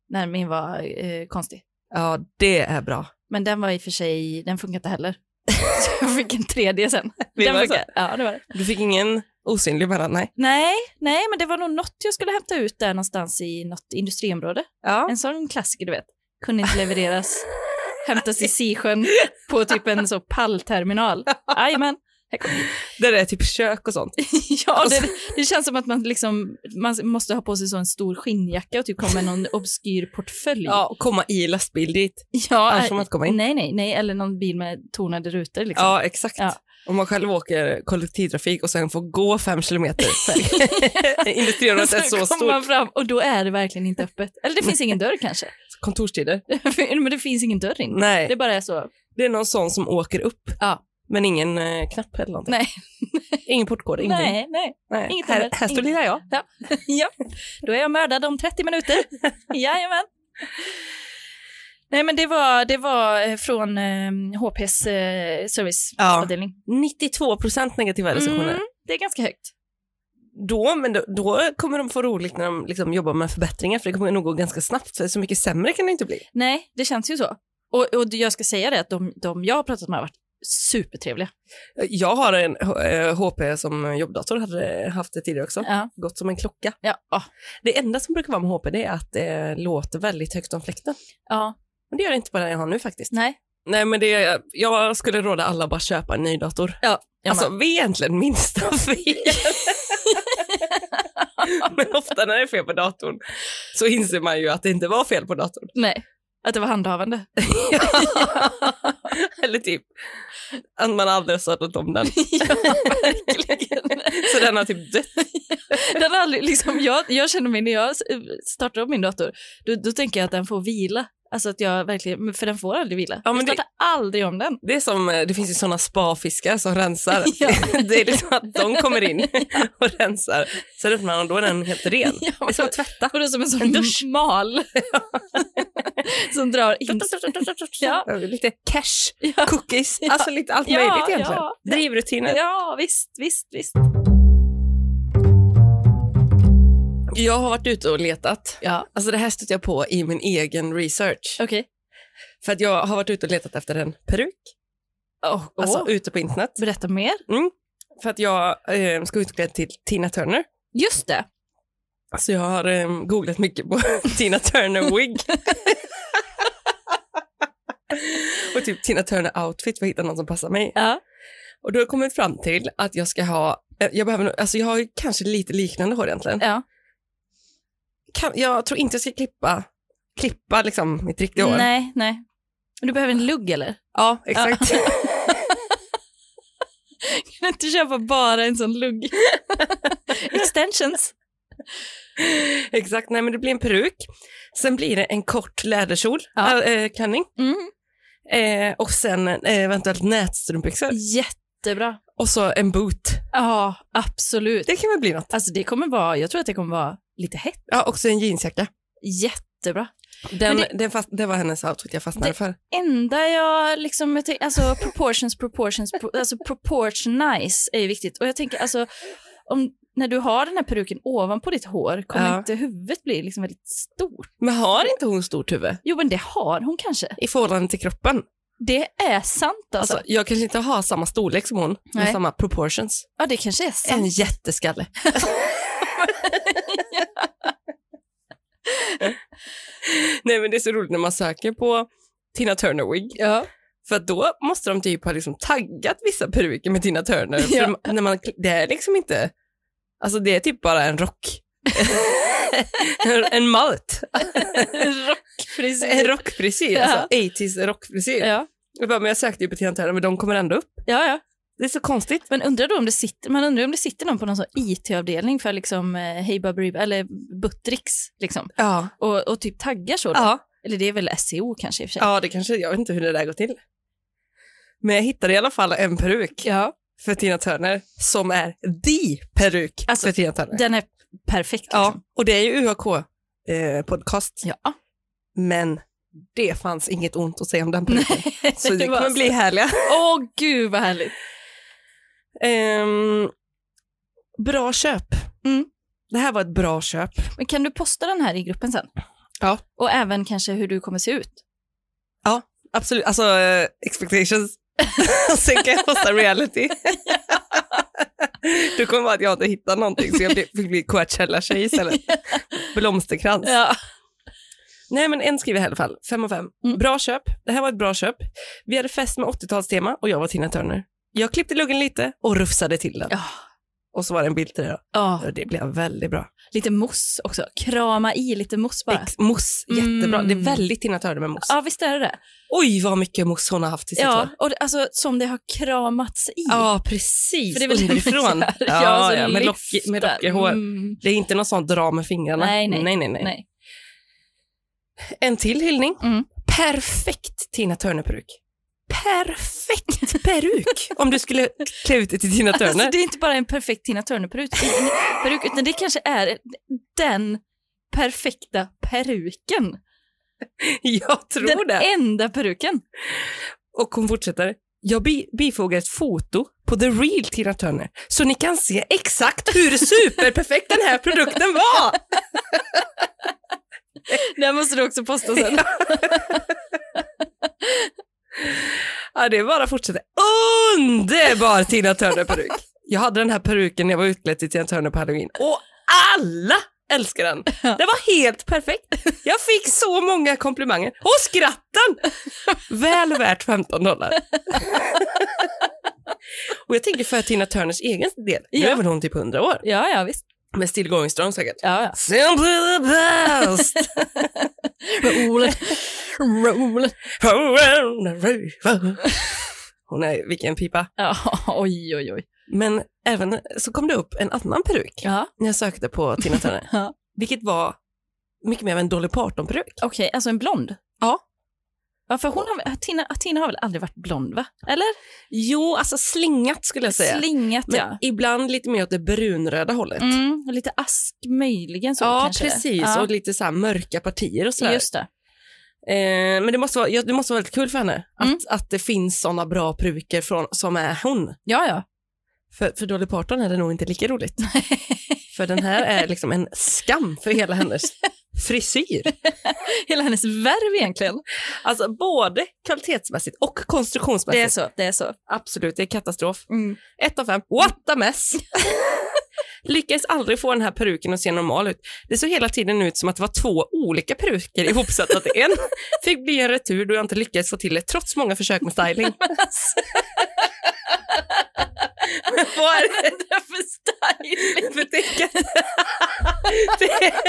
när min var eh, konstig.
Ja, det är bra.
Men den var i och för sig, den funkar inte heller. Så jag fick en 3D sen.
Det
den
var
funkar. Ja, det var det.
Du fick ingen osynlig mellan, nej.
Nej, nej, men det var nog något jag skulle hämta ut där någonstans i något industriområde.
Ja.
En sån klassiker, du vet. Kunde inte levereras. Hämtas i Sisjön på typ en så pallterminal. Jajamän. Här kommer
Där det är typ kök och sånt.
Ja,
Och så-
det, det känns som att man, liksom, man måste ha på sig så en stor skinnjacka och typ komma med någon obskyr portfölj.
Ja, och komma i lastbil dit.
Ja,
annars får
eh,
man inte komma in.
Nej, nej, nej, eller någon bil med tonade rutor. Liksom.
Ja, exakt.
Ja.
Om man själv åker kollektivtrafik och sen får gå fem kilometer. Industriområdet är
Sen
så
kommer man
stort.
fram och då är det verkligen inte öppet. Eller det finns ingen dörr kanske.
Kontorstider.
Men det finns ingen dörr in.
Nej.
Det bara är så.
Det är någon sån som åker upp.
Ja.
Men ingen eh, knapp eller någonting.
Nej.
Ingen portkod, ingenting.
Nej, nej.
Nej.
inget
här,
nummer,
här står
inget.
lilla jag.
Ja. ja, då är jag mördad om 30 minuter. Jajamän. Nej, men det var, det var eh, från eh, HPs eh, serviceavdelning.
92 procent negativa recensioner.
Mm, det är ganska högt.
Då, men då, då kommer de få roligt när de liksom jobbar med förbättringar för det kommer nog gå ganska snabbt för så mycket sämre kan det inte bli.
Nej, det känns ju så. Och, och jag ska säga det att de, de jag har pratat med har varit supertrevliga.
Jag har en eh, HP som jobbdator, hade haft det tidigare också.
Ja.
Gått som en klocka.
Ja, ja.
Det enda som brukar vara med HP det är att det låter väldigt högt om fläkten.
ja.
Men det gör det inte på den jag har nu faktiskt.
nej.
Nej men det, jag skulle råda alla att bara köpa en ny dator.
Ja, jag
alltså vi är egentligen minsta fel. men ofta när det är fel på datorn så inser man ju att det inte var fel på datorn.
nej. Att det var handhavande.
Eller typ att man aldrig har startat om den.
ja, verkligen.
Så den har typ dött.
Den har aldrig, liksom, jag, jag känner mig när jag s- startar upp min dator, då, då tänker jag att den får vila. Alltså att jag verkligen, men för den får aldrig vila.
Ja,
jag
men det-
startar aldrig om den.
Det är som, eh, det finns ju sådana spafiskar som rensar.
Ja.
Det är liksom att de kommer in och rensar. Sen öppnar man och då är den helt ren.
Ja,
Det är som att tvätta.
och det är som en sån dusch. mal som drar in. Ja.
Lite cash,
Ja.
cookies,
Ja.
alltså lite allt
Ja,
möjligt egentligen.
ja.
Drivrutiner.
Ja, visst, visst, visst.
Jag har varit ute och letat.
Ja,
Alltså det här stötte jag på i min egen research.
okej.
För att jag har varit ute och letat efter en peruk,
Åh,
alltså
åh.
ute på internet. Mm.
Berätta mer.
För att jag eh, ska utklädd till Tina Turner.
Just det.
Så jag har eh, googlat mycket på Tina Turner wig. och typ Tina Turner outfit för att hitta någon som passar mig.
Ja.
Och då har jag kommit fram till att jag ska ha, eh, jag behöver nog- alltså jag har ju kanske lite liknande hår egentligen.
Ja.
Kan, jag tror inte jag ska klippa, klippa liksom mitt riktiga hår.
Nej, nej. Du behöver en lugg eller?
Ja, exakt.
Kan inte köpa bara en sån lugg? Extensions.
exakt. Nej men det blir en peruk. Sen blir det en kort läderkjol,
Ja.
äh, eh, klänning.
Mm.
Eh, och sen eh, eventuellt nätstrumpbyxor.
Mm. Jättebra.
Och så en boot.
Ja, absolut.
Det kan väl bli något.
Alltså det kommer vara, jag tror att det kommer vara lite hett.
Ja, också en jeansjacka.
Jättebra.
Den,
Men
den fast, det var hennes outfit jag fastnade
Det-
för.
Enda jag liksom, jag tänk, alltså proportions, proportions, pro, alltså proportionize är ju viktigt. Och jag tänker alltså, om, när du har den här peruken ovanpå ditt hår, kommer
Ja.
inte huvudet bli liksom väldigt stort?
Men har inte hon stort huvud
Jo men det har hon kanske.
i förhållande till kroppen?
Det är sant alltså.
Alltså, jag kanske inte har samma storlek som hon, men
Nej. Eh.
samma proportions.
ja det kanske är sant.
En jätteskalle. Nej men det är så roligt när man söker på Tina Turner wig.
Ja.
För att då måste de typ ha liksom taggat vissa peruker med Tina Turner. För
Ja.
de- när man, det är liksom inte, alltså det är typ bara en rock. En- en malt,
Rockfrisyr.
en rockfrisyr,
Ja.
alltså 80s rockfrisyr.
Ja.
Jag bara, men jag sökte ju på Tina Turner men de kommer ändå upp.
ja, ja.
Det är så konstigt.
Men undrar då om det sitter, man undrar om det sitter någon på någon sån IT-avdelning för liksom eh, Hey Baberiba, eller Buttricks liksom.
Ja.
Och, och typ taggar så då.
Ja.
Eller det är väl SEO kanske i och för sig.
ja, det kanske, jag vet inte hur det där går till. Men jag hittade i alla fall en peruk
Ja.
för Tina Turner som är the peruk
Alltså,
för Tina Turner.
Den är perfekt
Ja,
liksom.
och det är ju UHK eh, podcast.
Ja.
Men det fanns inget ont att säga om den peruken. Så det
var
kommer bli härliga.
Åh gud vad härligt.
Ehm, bra köp.
Mm.
Det här var ett bra köp.
Men kan du posta den här i gruppen sen?
Ja.
Och även kanske hur du kommer se ut.
Absolut, alltså eh, expectations. Sen kan jag posta reality. Du kommer vara att jag inte hittar någonting så jag blir- fick bli Coachella-tjej istället. Blomsterkrans.
Ja.
Nej men en skriver jag i alla fall, fem av fem.
Mm.
Bra köp, det här var ett bra köp. Vi hade fest med 80-talstema och jag var Tina Turner. Jag klippte luggen lite och rufsade till den.
Ja.
Och så var det en bild till det då.
Ja.
Och Det blev väldigt bra.
Lite mousse också. Krama i lite mousse bara.
Ex- mousse,
Mm.
jättebra. Det är väldigt Tina Turner med mousse.
Ja, visst är det det.
Oj vad mycket mousse hon har haft i sitt
Ja,
hår.
och det, alltså som det har kramats i.
Ja, precis.
För det är väl
underifrån.
ungefär.
ja, ja,
så
med,
lyfta.
lock, med lockigt hår.
Mm.
Det är inte någon sån dra med fingrarna.
Nej, nej.
nej, nej, nej.
Nej.
En till hyllning.
Mm.
Perfekt Tina Turner-peruk. perfekt peruk om du skulle klä ut det till Tina
Alltså,
Turner.
det är inte bara en perfekt Tina Turner-peruk, peruk, utan det kanske är den perfekta peruken.
Jag tror
Den
det.
enda peruken.
Och hon fortsätter. Jag bi- bifogar ett foto på the real Tina Turner så ni kan se exakt hur superperfekt den här produkten var.
Den måste du också posta sen.
Ja, det är bara att fortsätta. Underbar Tina Turner-peruk. Jag hade den här peruken när jag var utklädd till Tina Turner på halloween och alla älskar den. Den var helt perfekt. Jag fick så många komplimanger. Och skratten! Väl värt 15 dollar. Och jag tänker för Tina Turners egen del, nu
Ja.
är väl hon typ 100 år,
Ja, ja, visst.
men still going strong säkert.
Ja, ja.
Simply the best!
Roligt. Roligt.
Hon är, vilken pipa.
Ja, oj, oj, oj.
Men även så kom det upp en annan peruk
Ja,
när jag sökte på Tina Turner,
Ja.
vilket var mycket mer av en Dolly Parton-peruk.
okej, alltså en blond.
Ja.
Ja, för hon har, Tina, Tina har väl aldrig varit blond, va? Eller?
Jo, alltså slingat skulle jag säga.
Slingat,
Men
ja.
ibland lite mer åt det brunröda hållet.
Mm, och lite ask möjligen så
Ja,
kanske.
precis.
Ja,
Och lite så här mörka partier och sådär.
Just det.
Eh, men det måste, vara, ja, det måste vara väldigt kul för henne att,
Mm.
att det finns såna bra peruker från, som är hon.
Ja, ja.
För, för Dolly Parton är det nog inte lika roligt. för den här är liksom en skam för hela hennes frisyr.
Hela hennes värv egentligen.
Alltså både kvalitetsmässigt och konstruktionsmässigt.
Det är så, det är så.
Absolut, det är katastrof.
Mm.
Ett av fem. What a mess! Lyckades aldrig få den här peruken att se normal ut. Det såg hela tiden ut som att det var två olika peruker ihopsatta till en. Fick bli en retur då jag inte lyckades få till det trots många försök med styling. Vad är det?
Det är för styling.
För tänk, att,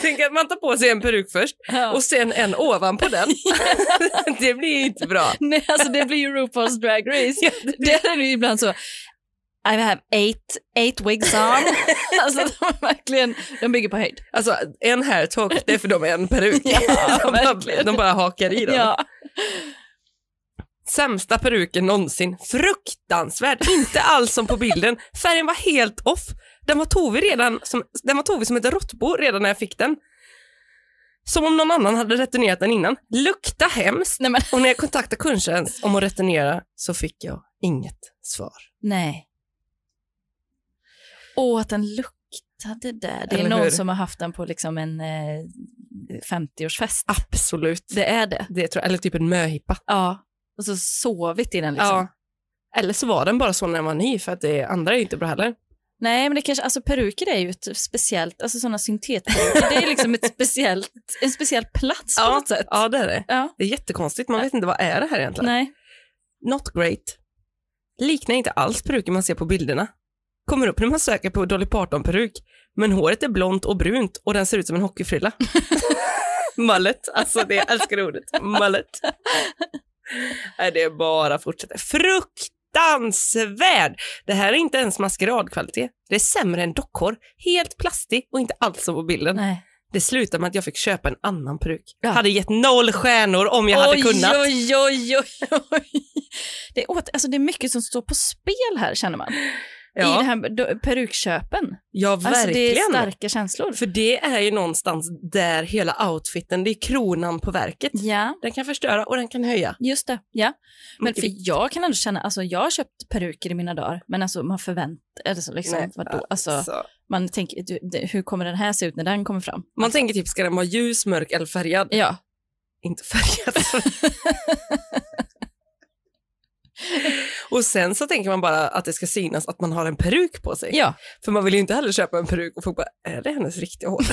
tänk att man tar på sig en peruk först
Ja.
och sen en ovanpå den. det blir ju inte bra.
Nej, alltså det blir ju RuPaul's Drag Race.
Ja,
Där är det ju ibland så, I have eight, eight wigs on. alltså de är verkligen, de bygger på höjd.
Alltså en hair talk, det är för dem en peruk.
Ja,
de, bara,
verkligen.
de bara hakar i den.
Ja.
Sämsta peruken någonsin. Fruktansvärd. Inte alls som på bilden. Färgen var helt off. Den var tovig redan som, den var tovig som ett råttbo redan när jag fick den. Som om någon annan hade returnerat den innan. Lukta hemskt.
Nej, men,
Och när jag kontaktade kundtjänst om att returnera så fick jag inget svar.
nej. Åh, att den luktade där. Det är
Eller
någon
hur?
som har haft den på liksom en eh, 50-årsfest.
Absolut.
Det är det.
Det tror jag, eller typ en möhippa.
Ja. Och så sovit i den liksom.
Eller så var den bara så när den var ny för att det andra är ju inte bra heller.
Nej, men det kanske, alltså peruker är ju ett speciellt, alltså sådana syntetperuker, det är liksom ett speciellt, en speciell plats på något sätt.
ja, det är det.
Ja.
Det är jättekonstigt. Man vet inte vad är det här egentligen.
Nej.
Not great. Liknar inte alls peruken man ser på bilderna. Kommer upp när man söker på Dolly Parton-peruk, men håret är blont och brunt och den ser ut som en hockeyfrilla. Mallet, alltså det jag älskar det ordet. Mallet. Nej, det är bara att fortsätta. Fruktansvärd! Det här är inte ens maskeradkvalitet. Det är sämre än dockhår, helt plastig och inte alls som på bilden.
Nej.
Det slutade med att jag fick köpa en annan peruk.
Ja.
Hade gett noll stjärnor om jag hade
oj,
kunnat.
oj, oj, oj, oj. Det är, åt, alltså det är mycket som står på spel här känner man, i det
Ja,
här do- perukköpen.
ja
Alltså det
verkligen.
är starka känslor.
För det är ju någonstans där hela outfiten, det är kronan på verket.
Ja,
Den kan förstöra och den kan höja.
just det. Ja. Men
Mycket
för
viktigt.
jag kan ändå känna, alltså jag har köpt peruker i mina dagar, men alltså man förväntar eller så liksom,
Nej,
vadå? Alltså,
Så.
man tänker, du, det, hur kommer den här se ut när den kommer fram?
Man tänker typ, ska den vara ljus, mörk eller färgad?
Ja,
Inte färgad. och sen så tänker man bara att det ska synas att man har en peruk på sig.
ja.
För man vill ju inte heller köpa en peruk och få bara, är det hennes riktiga hår?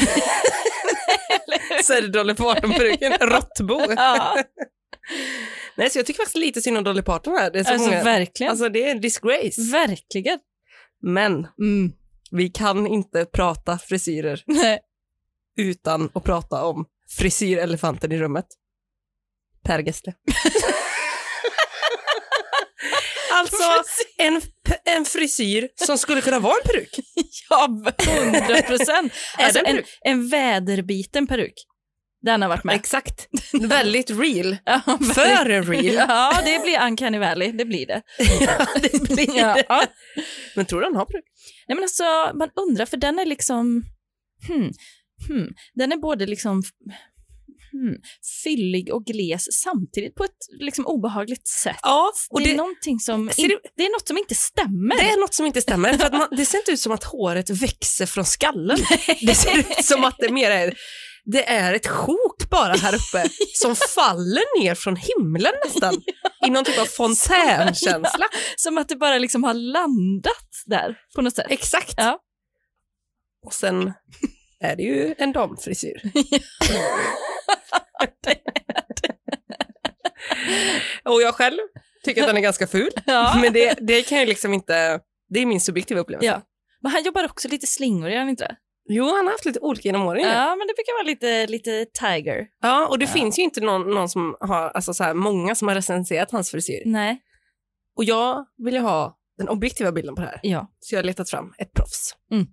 så är det Dolly Parton-peruken, råttbo.
ja.
Nej, så jag tycker faktiskt lite synd om Dolly Parton här. Det är så
Alltså
många...
verkligen.
Alltså det är en disgrace.
verkligen.
Men
Mm.
Vi kan inte prata frisyrer
Nej.
utan att prata om frisyrelefanten i rummet. Per Gessle. alltså en, en frisyr som skulle kunna vara en peruk.
Ja, 100 procent.
Är
alltså,
det en
en,
peruk?
en väderbiten peruk. Den har varit med.
Exakt. Väldigt real.
Ja, verkligen.
För real.
Ja, det blir Uncanny Valley, det blir det.
Ja, det blir
Ja.
det. Men tror du han har brud?
Nej, men alltså, man undrar, för den är liksom... Hmm, hmm, den är både liksom hmm, fyllig och gles samtidigt på ett liksom obehagligt sätt.
Ja,
Och det, är någonting som
Ser
in,
du-
det är något som inte stämmer.
Det är något som inte stämmer. För att man, det ser inte ut som att håret växer från skallen. Det ser ut som att det mer är, det är ett sjok bara här uppe som faller ner från himlen nästan. I någon typ av fontänkänsla.
Som att det bara liksom har landat där på något sätt.
Exakt.
Ja.
Och sen är det ju en damfrisyr. Och jag själv tycker att den är ganska ful.
Ja.
Men det, det kan ju liksom inte, det är min subjektiva upplevelse.
Ja. Men han jobbar också lite slingor, gör han inte det?
Jo, han har haft lite olika genom åren. ju.
Ja, men det brukar vara lite, lite tiger.
Ja, och det
Ja.
finns ju inte någon, någon som har, alltså så här, många som har recenserat hans frisyr.
Nej.
Och jag vill ju ha den objektiva bilden på det här,
Ja.
så jag har letat fram ett proffs.
Mm.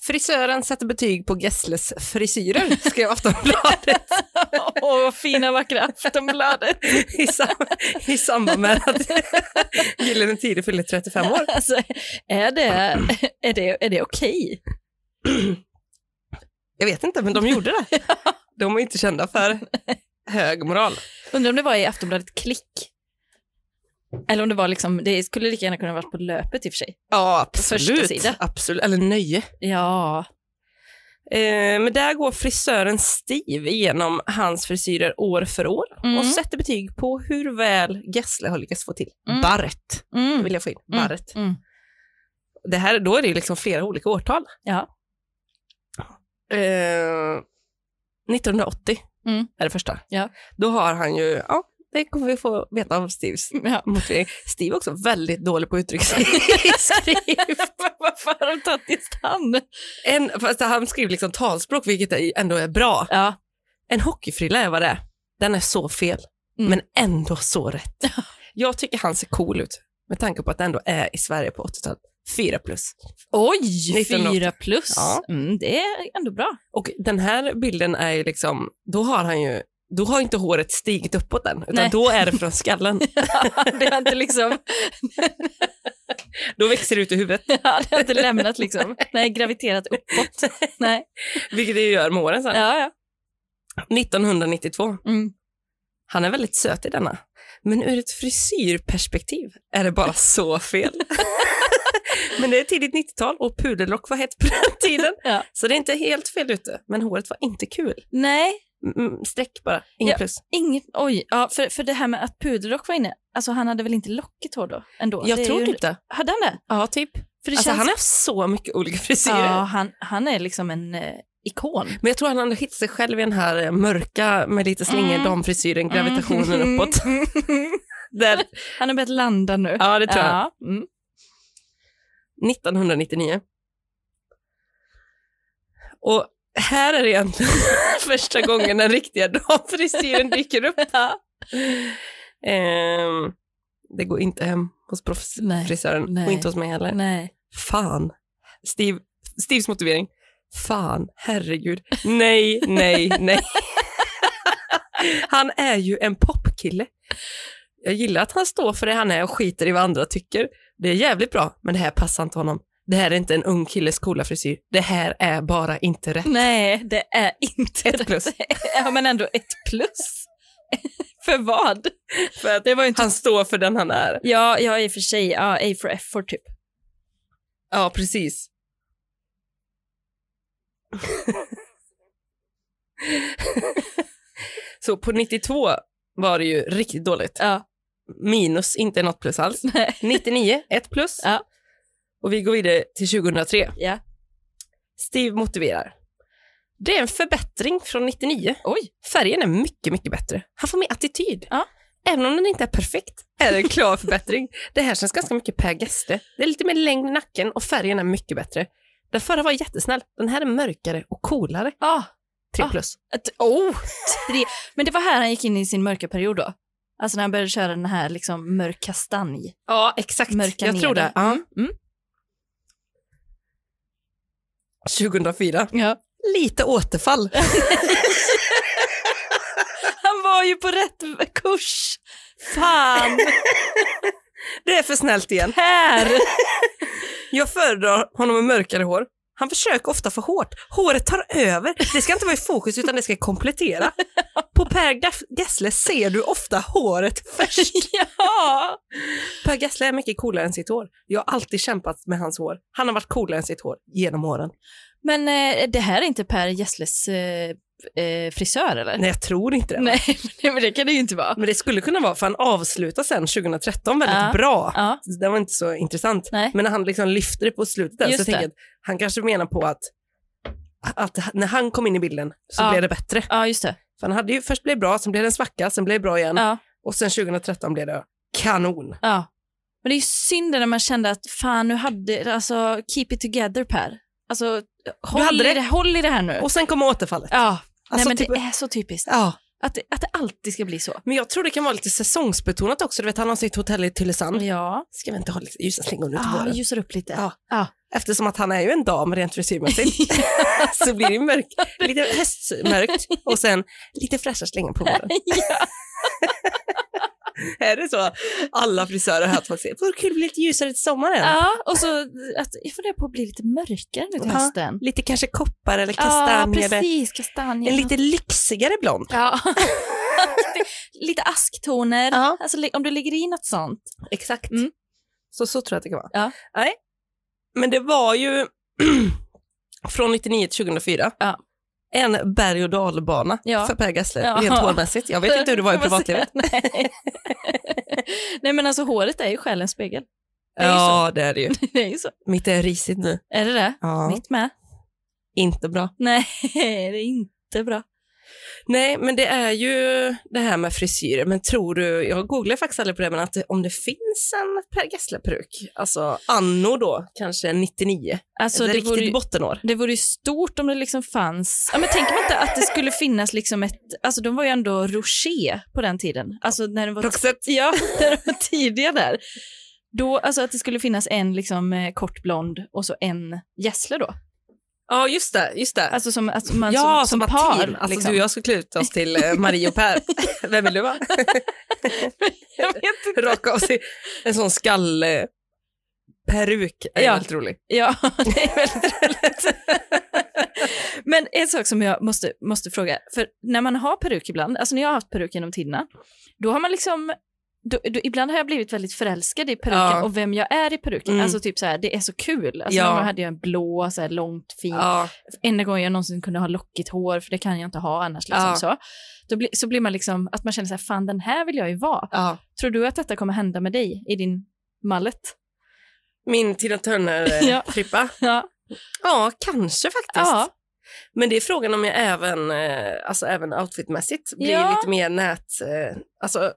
Frisören sätter betyg på Gessles frisyrer, skrev Aftonbladet
Åh, vad fina vackra Aftonbladet.
i, sam- i samband med att Gyllene Tider fyllde 35 år.
Alltså, är det, är det, är det okej?
Jag vet inte, men de gjorde det. De är inte kända för hög moral.
Undrar om det var i Aftonbladet Klick. Eller om det var liksom, det skulle lika gärna kunna varit på löpet i och för sig.
Ja,
Första
absolut.
sida.
absolut. Eller nöje.
Ja.
Eh, men där går frisören Steve igenom hans frisyrer år för år
Mm.
och sätter betyg på hur väl Gessle har lyckats få till
Mm.
barret.
Mm.
vill jag få in.
Mm.
Barret.
Mm.
Det här, då är det ju liksom flera olika årtal.
Ja.
Eh, 1980
Mm.
är det första.
Ja.
Då har han ju, ja, det kommer vi få veta av Steves
ja.
motivering. Steve är också väldigt dålig på att uttrycka sig.
Varför har de tagit just han?
En, fast han skriver liksom talspråk, vilket är- ändå är bra.
Ja.
En hockeyfrilla är vad det är. Den är så fel,
Mm.
men ändå så rätt. Jag tycker han ser cool ut, med tanke på att det ändå är i Sverige på 80-talet. Fyra plus.
Oj,
1980.
fyra plus.
Ja.
Mm, det är ändå bra.
Och den här bilden är ju liksom, då har han ju, då har inte håret stigit uppåt än, utan
Nej.
då är det från skallen.
Det har inte liksom,
Då växer det ut i huvudet,
ja, det har inte lämnat liksom. Nej, graviterat uppåt. Nej.
vilket det gör med åren sen.
Ja, ja.
1992.
Mm.
Han är väldigt söt i denna. Men ur ett frisyrperspektiv är det bara så fel. men det är tidigt 90-tal och puderlock var hett på den tiden.
Ja.
Så det är inte helt fel ute, men håret var inte kul.
Nej,
Mm, streck bara, inget
Ja.
plus.
Inget, oj, ja, för, för det här med att puderrock var inne, alltså han hade väl inte lockigt hår då? Ändå.
Jag
det är
tror
ju,
typ det.
Hade han det?
Ja, typ.
För det
Alltså,
känns,
han har haft så mycket olika frisyrer.
ja, han, han är liksom en eh, ikon.
Men jag tror han hade hittat sig själv i den här eh, mörka med lite slingor,
Mm.
damfrisyren, gravitationen
Mm.
uppåt. Där,
han har börjat landa nu.
ja, det tror jag.
Ja, mm.
1999. Och här är det egentligen första gången den riktiga damfrisyren dyker upp. Ehm, det går inte hem hos
Nej.
proffsfrisören
Nej.
och inte hos mig heller.
Nej.
Fan. Steve, Steves motivering. Fan, herregud. Nej, nej, nej. Han är ju en popkille. Jag gillar att han står för det han är och skiter i vad andra tycker. Det är jävligt bra, men det här passar inte honom. Det här är inte en ung killes coola frisyr. Det här är bara inte rätt.
Nej, det är inte
Ett plus.
Ja, men ändå ett plus. för vad?
För att
Det var ju inte...
han står för den han är.
Ja, ja, i och för sig. Ja, A for effort typ.
Ja, precis. Så på 92 var det ju riktigt dåligt.
Ja.
Minus, inte något plus alls.
Nej.
99, ett plus.
Ja.
Och vi går vidare till 2003.
Ja.
Steve motiverar. Det är en förbättring från 99.
Oj.
Färgen är mycket, mycket bättre. Han får mer attityd.
Ja.
Även om den inte är perfekt är det en klar förbättring. Det här känns ganska mycket Per Gessle. Det är lite mer längd i nacken och färgen är mycket bättre. Den förra var jättesnäll. Den här är mörkare och coolare.
Ah,
Tre
Ah.
plus.
Att, oh, tre. Men det var här han gick in i sin mörka period då? Alltså när han började köra den här liksom mörk kastanj.
Ja, exakt.
Mörka
Jag
ner
tror det.
den.
Ja.
Mm.
2004.
Ja.
Lite återfall.
Han var ju på rätt kurs. Fan,
Det är för snällt igen.
här!
Jag föredrar honom med mörkare hår. Han försöker ofta för hårt. Håret tar över. Det ska inte vara i fokus utan det ska komplettera. På Per Gaff- Gessle ser du ofta håret först.
Ja!
Per Gessle är mycket coolare än sitt hår. Jag har alltid kämpat med hans hår. Han har varit coolare än sitt hår genom åren.
Men eh, det här är inte Per Gessles eh, eh, frisör eller?
Nej, jag tror inte det.
Nej, men det kan det ju inte vara.
Men det skulle kunna vara, för han avslutar sen 2013 väldigt
Ja.
bra.
Ja,
Det var inte så intressant.
nej.
Men när han liksom lyfter det på slutet där,
Just
så tänker
det.
jag att han kanske menar på att, att när han kom in i bilden så
Ja.
blev det bättre.
Ja, just det.
För han hade ju, först blev det bra, sen blev det en svacka, sen blev det bra igen
Ja,
och sen 2013 blev det kanon.
ja. Men det är ju synd när man kände att fan, nu hade, alltså keep it together Per. Alltså, håll,
hade
i det.
det.
håll i det här nu.
Och sen kom återfallet.
ja, nej
Alltså
men
typ-
det är så typiskt.
Ja.
Att det, att det alltid ska bli så.
Men jag tror det kan vara lite säsongsbetonat också. Du vet, han har sitt hotell i Tylösand.
Ja,
Ska vi inte ha lite ljusa slingor nu till
ah,
våren?
ljusar upp lite.
Ja.
Ja.
Eftersom att han är ju en dam rent frisyrmässigt så blir det ju mörkt. Lite höstmörkt och sen lite fräscha slingor på våren. är det så alla frisörer har haft folk säger? Vore kul att bli lite ljusare till sommaren.
Ja, och så att jag funderar på att bli lite mörkare nu till
Ja.
hösten.
Lite kanske koppar eller kastanjer.
Ja,
eller
precis, kastanjer.
en lite lyxigare blond.
ja. lite, lite asktoner,
Ja.
alltså, li- om det ligger i något sånt.
Exakt.
Mm.
Så, så tror jag att det kan vara.
Ja.
Nej. Men det var ju från 99 till 2004
Ja.
en berg och dalbana
Ja.
för Per Gessle,
Ja.
rent hårmässigt. Jag vet inte hur det var i
Får man
privatlivet.
säga? Nej. Nej men alltså håret är ju själens spegel. Det är ju
Ja, det är det ju.
så. Det är ju så.
Mitt är risigt nu.
Är det det?
Ja.
Mitt med?
Inte bra.
Nej, det är inte bra.
Nej, men det är ju det här med frisyrer. Men tror du, jag googlar faktiskt aldrig på det, men att det- om det finns en Per Gessle-peruk, alltså anno då, kanske 99,
Alltså,
ett
det,
riktigt
vore ju,
bottenår.
det vore ju stort om det liksom fanns, ja, men tänker man inte att det skulle finnas liksom ett, alltså de var ju ändå rouché på den tiden, alltså när de var
Roxette.
Ja, när de var tidiga där. Då, alltså att det skulle finnas en liksom, eh, kort blond och så en gässle då.
Ja, just det, just det.
Alltså som, att man
ja,
som, som
att
par.
team. Alltså,
liksom.
Du och jag ska klä ut oss till eh, Marie och Per. Vem vill du vara?
jag vet inte.
Raka av sig en sån skallperuk. är
Ja.
väldigt rolig.
Ja, det är väldigt roligt. Men en sak som jag måste, måste fråga, för när man har peruk ibland, alltså när jag har haft peruk genom tiderna, då har man liksom då, då, ibland har jag blivit väldigt förälskad i peruken
Ja.
och vem jag är i peruken.
Mm.
Alltså typ så här, det är så kul. Alltså
Ja.
någon gång hade jag en blå, så här långt, fint
Ja.
enda gången jag någonsin kunde ha lockigt hår, för det kan jag inte ha annars. Liksom,
Ja.
så. Då bli, så blir man liksom, att man känner så här, fan den här vill jag ju vara.
ja.
Tror du att detta kommer hända med dig i din mallet?
Min Tina
Ja.
Turner-trippa. ja.
Ja.
kanske faktiskt.
Ja.
Men det är frågan om jag även, eh, alltså även outfitmässigt blir
Ja.
lite mer nät... eh, Alltså,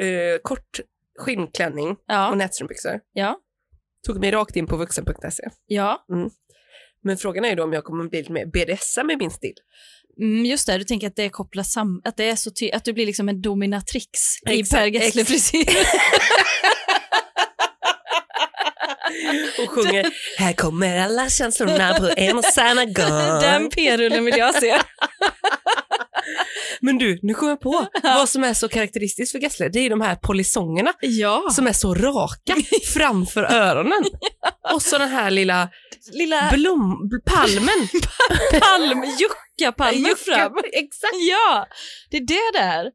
eh, kort skinnklänning och
Ja.
nätstrumpbyxor.
Ja.
Tog mig rakt in på vuxen.se.
ja.
Men frågan är ju då om jag kommer bli lite mer BDSM i min stil.
Mm, just det, du tänker att det kopplas samman, att det är så ty- att du blir liksom en dominatrix
Exakt,
i Per gessle
exakt.
frisyr.
Och sjunger Här kommer alla känslorna på en och samma
Den
gång.
p-rullen vill jag se.
Men du, nu kommer jag på vad som är så karaktäristiskt för Gessle. Det är ju de här polisongerna
Ja.
som är så raka framför öronen. Och så den här lilla
Lilla
blom, palmen.
palm, jucka-palmen
Jucka-
fram.
Exakt.
Ja, det är det där.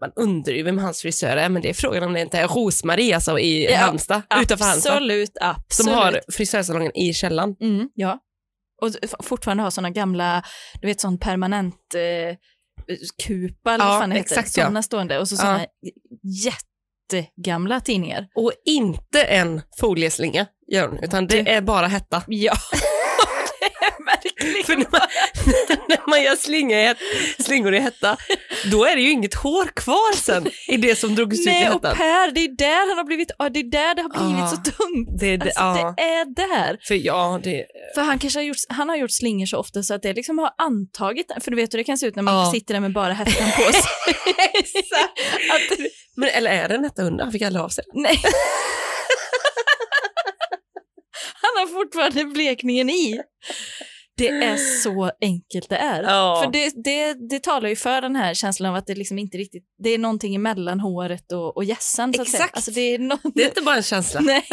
Man undrar ju vem hans frisör är, men det är frågan om det inte är Rosmarie alltså, i
Ja,
Halmstad, utanför Halmstad,
Absolut, absolut.
som har frisörsalongen i källaren.
Mm, ja. Och f- fortfarande ha såna gamla, du vet sån permanent eh, kupa eller
Ja,
vad fan det heter.
exakt, ja.
Såna stående och så såna jättegamla tidningar.
Och inte en folieslinga gör hon, utan det är bara hetta.
Ja. det är verkligen.
För när man, när man gör slinga i, het- slingor i hetta, då är det ju inget hår kvar sen i det som drogs ut i
Nej, och
hettan.
Per, det är där han har blivit, ja, det är där det har blivit
Ah.
så tungt.
Det, är det,
Alltså,
ja,
Det är där.
för ja, det,
För han kanske har gjort, han har gjort slingor så ofta så att det liksom har antagit, för du vet hur det kan se ut när man
Ja.
sitter där med bara häften på sig.
Exakt.
att,
men, eller är det en hetta hundra? Han fick aldrig av sig den.
Nej. Han har fortfarande blekningen i. Det är så enkelt det är.
Ja.
För det, det, det talar ju för den här känslan av att det liksom inte riktigt, det är någonting mellan håret och, och hjässan. Så att säga.
Exakt.
Alltså det är no-
Det är inte bara en känsla,
Nej,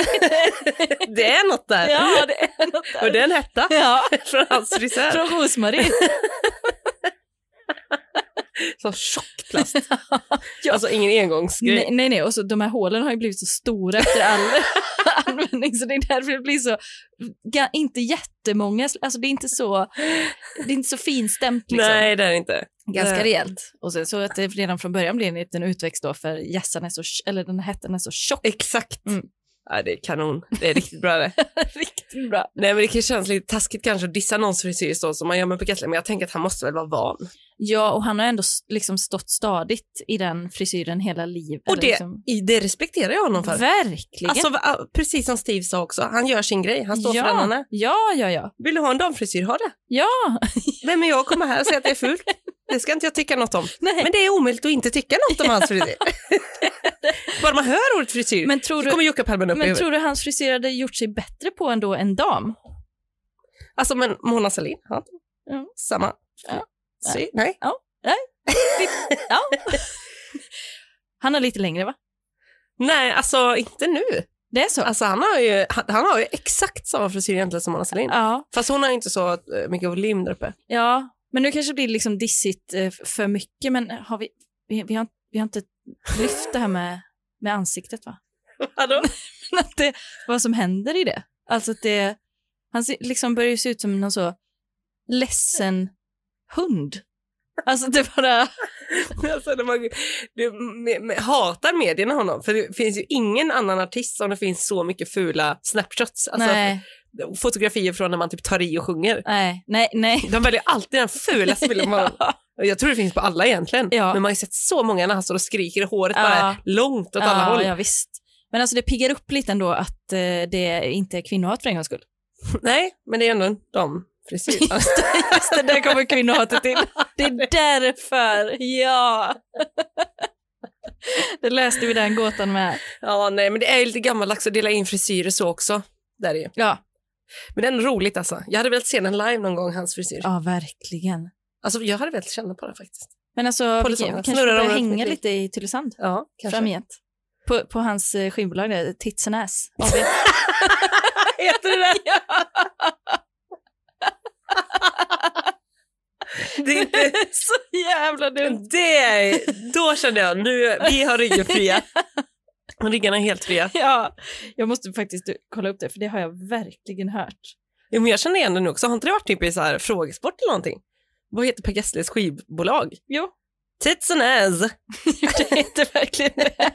det är något där.
ja det är något
Och
där.
det är en hetta
Ja,
från hans frisör.
från Rosmarie.
Som tjock plast. Alltså ingen engångsgrej.
Nej, nej, nej, och så de här hålen har ju blivit så stora efter all användning så det är därför det blir så, ga- inte jättemånga, alltså det är inte så, det är inte så finstämt liksom.
Nej, det är det inte.
Ganska
Nej.
rejält. Och sen så att det redan från början blir en liten utväxt då för gässan är så, eller den här hettan är så tjock.
Exakt.
Mm.
Ja, det är kanon. Det är riktigt bra det.
Riktigt bra.
Nej, men det kan kännas lite taskigt kanske att dissa någons frisyr så som man gör med Pekatli, men jag tänker att han måste väl vara van.
Ja, och han har ändå s- liksom stått stadigt i den frisyren hela livet.
Och det-
liksom,
I- Det respekterar jag honom för.
verkligen.
Alltså, va- precis som Steve sa också, han gör sin grej, han står
ja,
för den han är.
Ja, ja, ja.
Vill du ha en damfrisyr, ha det.
Ja,
Vem är jag att komma här och säga att det är fult? Det ska inte jag tycka något om.
nej.
Men det är omöjligt att inte tycka något om hans frisyr. Bara man hör ordet frisyr,
Men tror
då
du,
kommer juckapalmen upp i
men
huvudet.
tror du hans frisyr hade gjort sig bättre på ändå en dam?
Alltså, men Mona Sahlin, han,
Mm.
samma.
Ja.
Sy- Nej.
Han är lite längre, va?
Nej, alltså inte nu.
Det är så?
Alltså, han, har ju, han, han har ju exakt samma frisyr egentligen som Mona Sahlin.
Ja,
Fast hon har ju inte så eh, mycket volym där uppe.
ja. Men nu kanske det blir liksom dissigt eh, f- för mycket, men eh, har vi, vi, vi, har, vi har inte lyft det här med, med ansiktet, va?
Vadå?
Men att det, vad som händer i det. Alltså att det, han ser- liksom börjar ju se ut som någon så ledsen hund. Alltså det bara,
Alltså, när man, du me, me, hatar medierna honom, för det finns ju ingen annan artist som det finns så mycket fula snapshots, alltså
nej,
fotografier från när man typ tar i och sjunger.
nej, nej, nej.
De väljer alltid den fulaste bilden. man- Och Jag tror det finns på alla egentligen,
Ja.
men man har ju sett så många när han står och skriker och håret
Ja.
bara är långt åt alla håll.
ja, visst. Men alltså det piggar upp lite ändå att eh, det inte är kvinnohat för en gångs skull.
Nej, men det är ändå en damfrisyr. Alltså,
Just det, där kommer kvinnohatet in. Det är därför, ja. Det löste vi den gåtan med.
ja, nej, men det är ju lite gammaldags att dela in frisyrer så också. Där är ju.
Ja,
Men det är ändå roligt alltså. Jag hade velat se den live någon gång, hans frisyr.
ja verkligen.
Alltså, jag hade velat känna på den faktiskt.
Men alltså, vi,
Polisongen.
kan- vi kanske
Snurrar
börjar
de runt
hänga
mitt i?
lite i Tylösand.
Ja,
framgent. På, på hans eh, skivbolag där, Tits and Ass. AB.
Heter det det? det är inte,
så jävla dumt.
det är, då kände jag, nu, vi har ryggen fria. Ryggarna är helt fria.
Ja, jag måste faktiskt eh, kolla upp det, för det har jag verkligen hört.
Jo, men jag känner igen det nu också. Har inte det varit typ i så här frågesport eller någonting? Vad heter Per Gessles skivbolag?
Jo.
Tits and ass.
det heter verkligen det.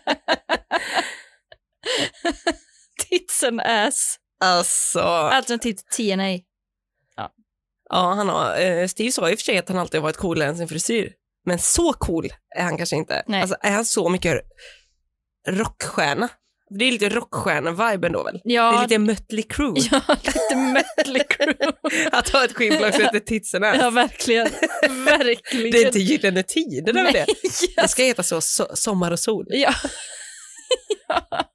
Tits and Ass.
Alltså,
Alternativt TNA.
ja, han har, eh, Steve sa i och för sig att han alltid har varit coolare än sin frisyr. Men så cool är han kanske inte.
Nej.
Alltså, är han så mycket rockstjärna? Det är lite rockstjärna-vibe ändå väl? Det är
Ja,
lite Mötley Crüe.
ja lite Mötley Crüe.
Att ha ett skivbolag som heter Tits and Ass.
Ja, verkligen. verkligen.
Det är inte Gyllene Tider eller det. Det
Ja.
ska heta så, so Sommar och sol.
alltså. Ja. ja.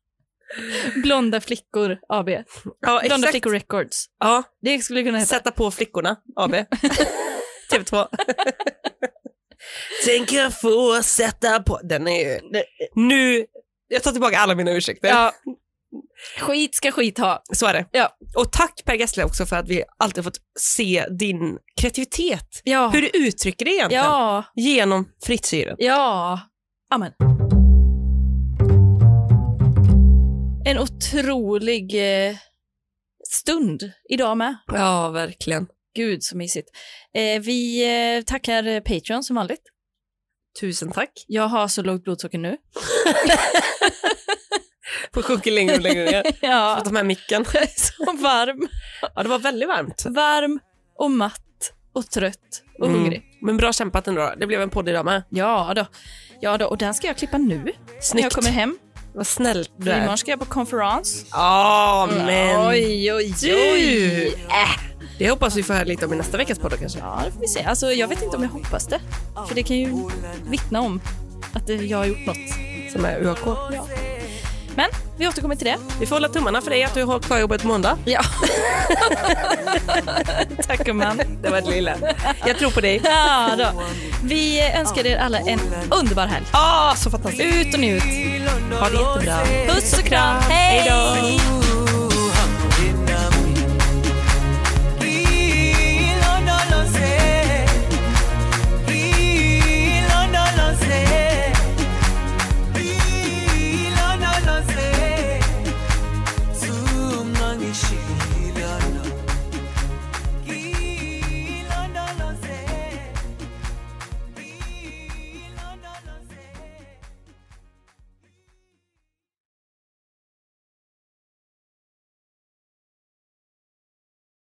Blonda flickor AB.
Ja,
Blonda
exakt.
flickor records.
Ja,
Det skulle kunna heta.
sätta på flickorna, AB. TV2. Tänker få sätta på... Den är ju... Nu... Jag tar tillbaka alla mina ursäkter.
Ja. Skit ska skit ha.
Så är det.
Ja.
Och tack Per Gessle också för att vi alltid fått se din kreativitet.
Ja.
Hur du uttrycker det egentligen.
ja.
Genom frisyren.
Ja. Amen. En otrolig eh, stund idag med.
Ja, verkligen.
Gud så mysigt. Eh, vi eh, tackar eh, Patreon som vanligt.
Tusen tack.
Jag har så lågt blodsocker nu.
På sjunker längre och längre ner.
Ja,
Att de här micken.
jag är så varm.
Ja, det var väldigt varmt.
Varm och matt och trött och
Mm.
hungrig.
Men bra kämpat ändå. Det blev en podd idag med.
Ja då. ja då, och den ska jag klippa nu när jag
Snyggt.
kommer hem.
Vad snällt du
För
är.
imorgon ska jag på konferens.
Ja, men
Oj, oj,
du!
oj.
Det hoppas vi får höra lite om i nästa veckas podd då, kanske.
Ja, det får vi se. Alltså, jag vet inte om jag hoppas det. För det kan ju vittna om att det- jag har gjort något.
Som är UAK.
Men vi återkommer till det.
Vi får hålla tummarna för dig att du har kvar jobbet på måndag.
Ja. Tack gumman.
Det var ett lilla. Jag tror på dig.
Ja, då. Vi önskar er alla en underbar helg.
Ah, så fantastiskt.
Ut och njut.
Ha det jättebra.
Puss och kram. Hej!
Hej då.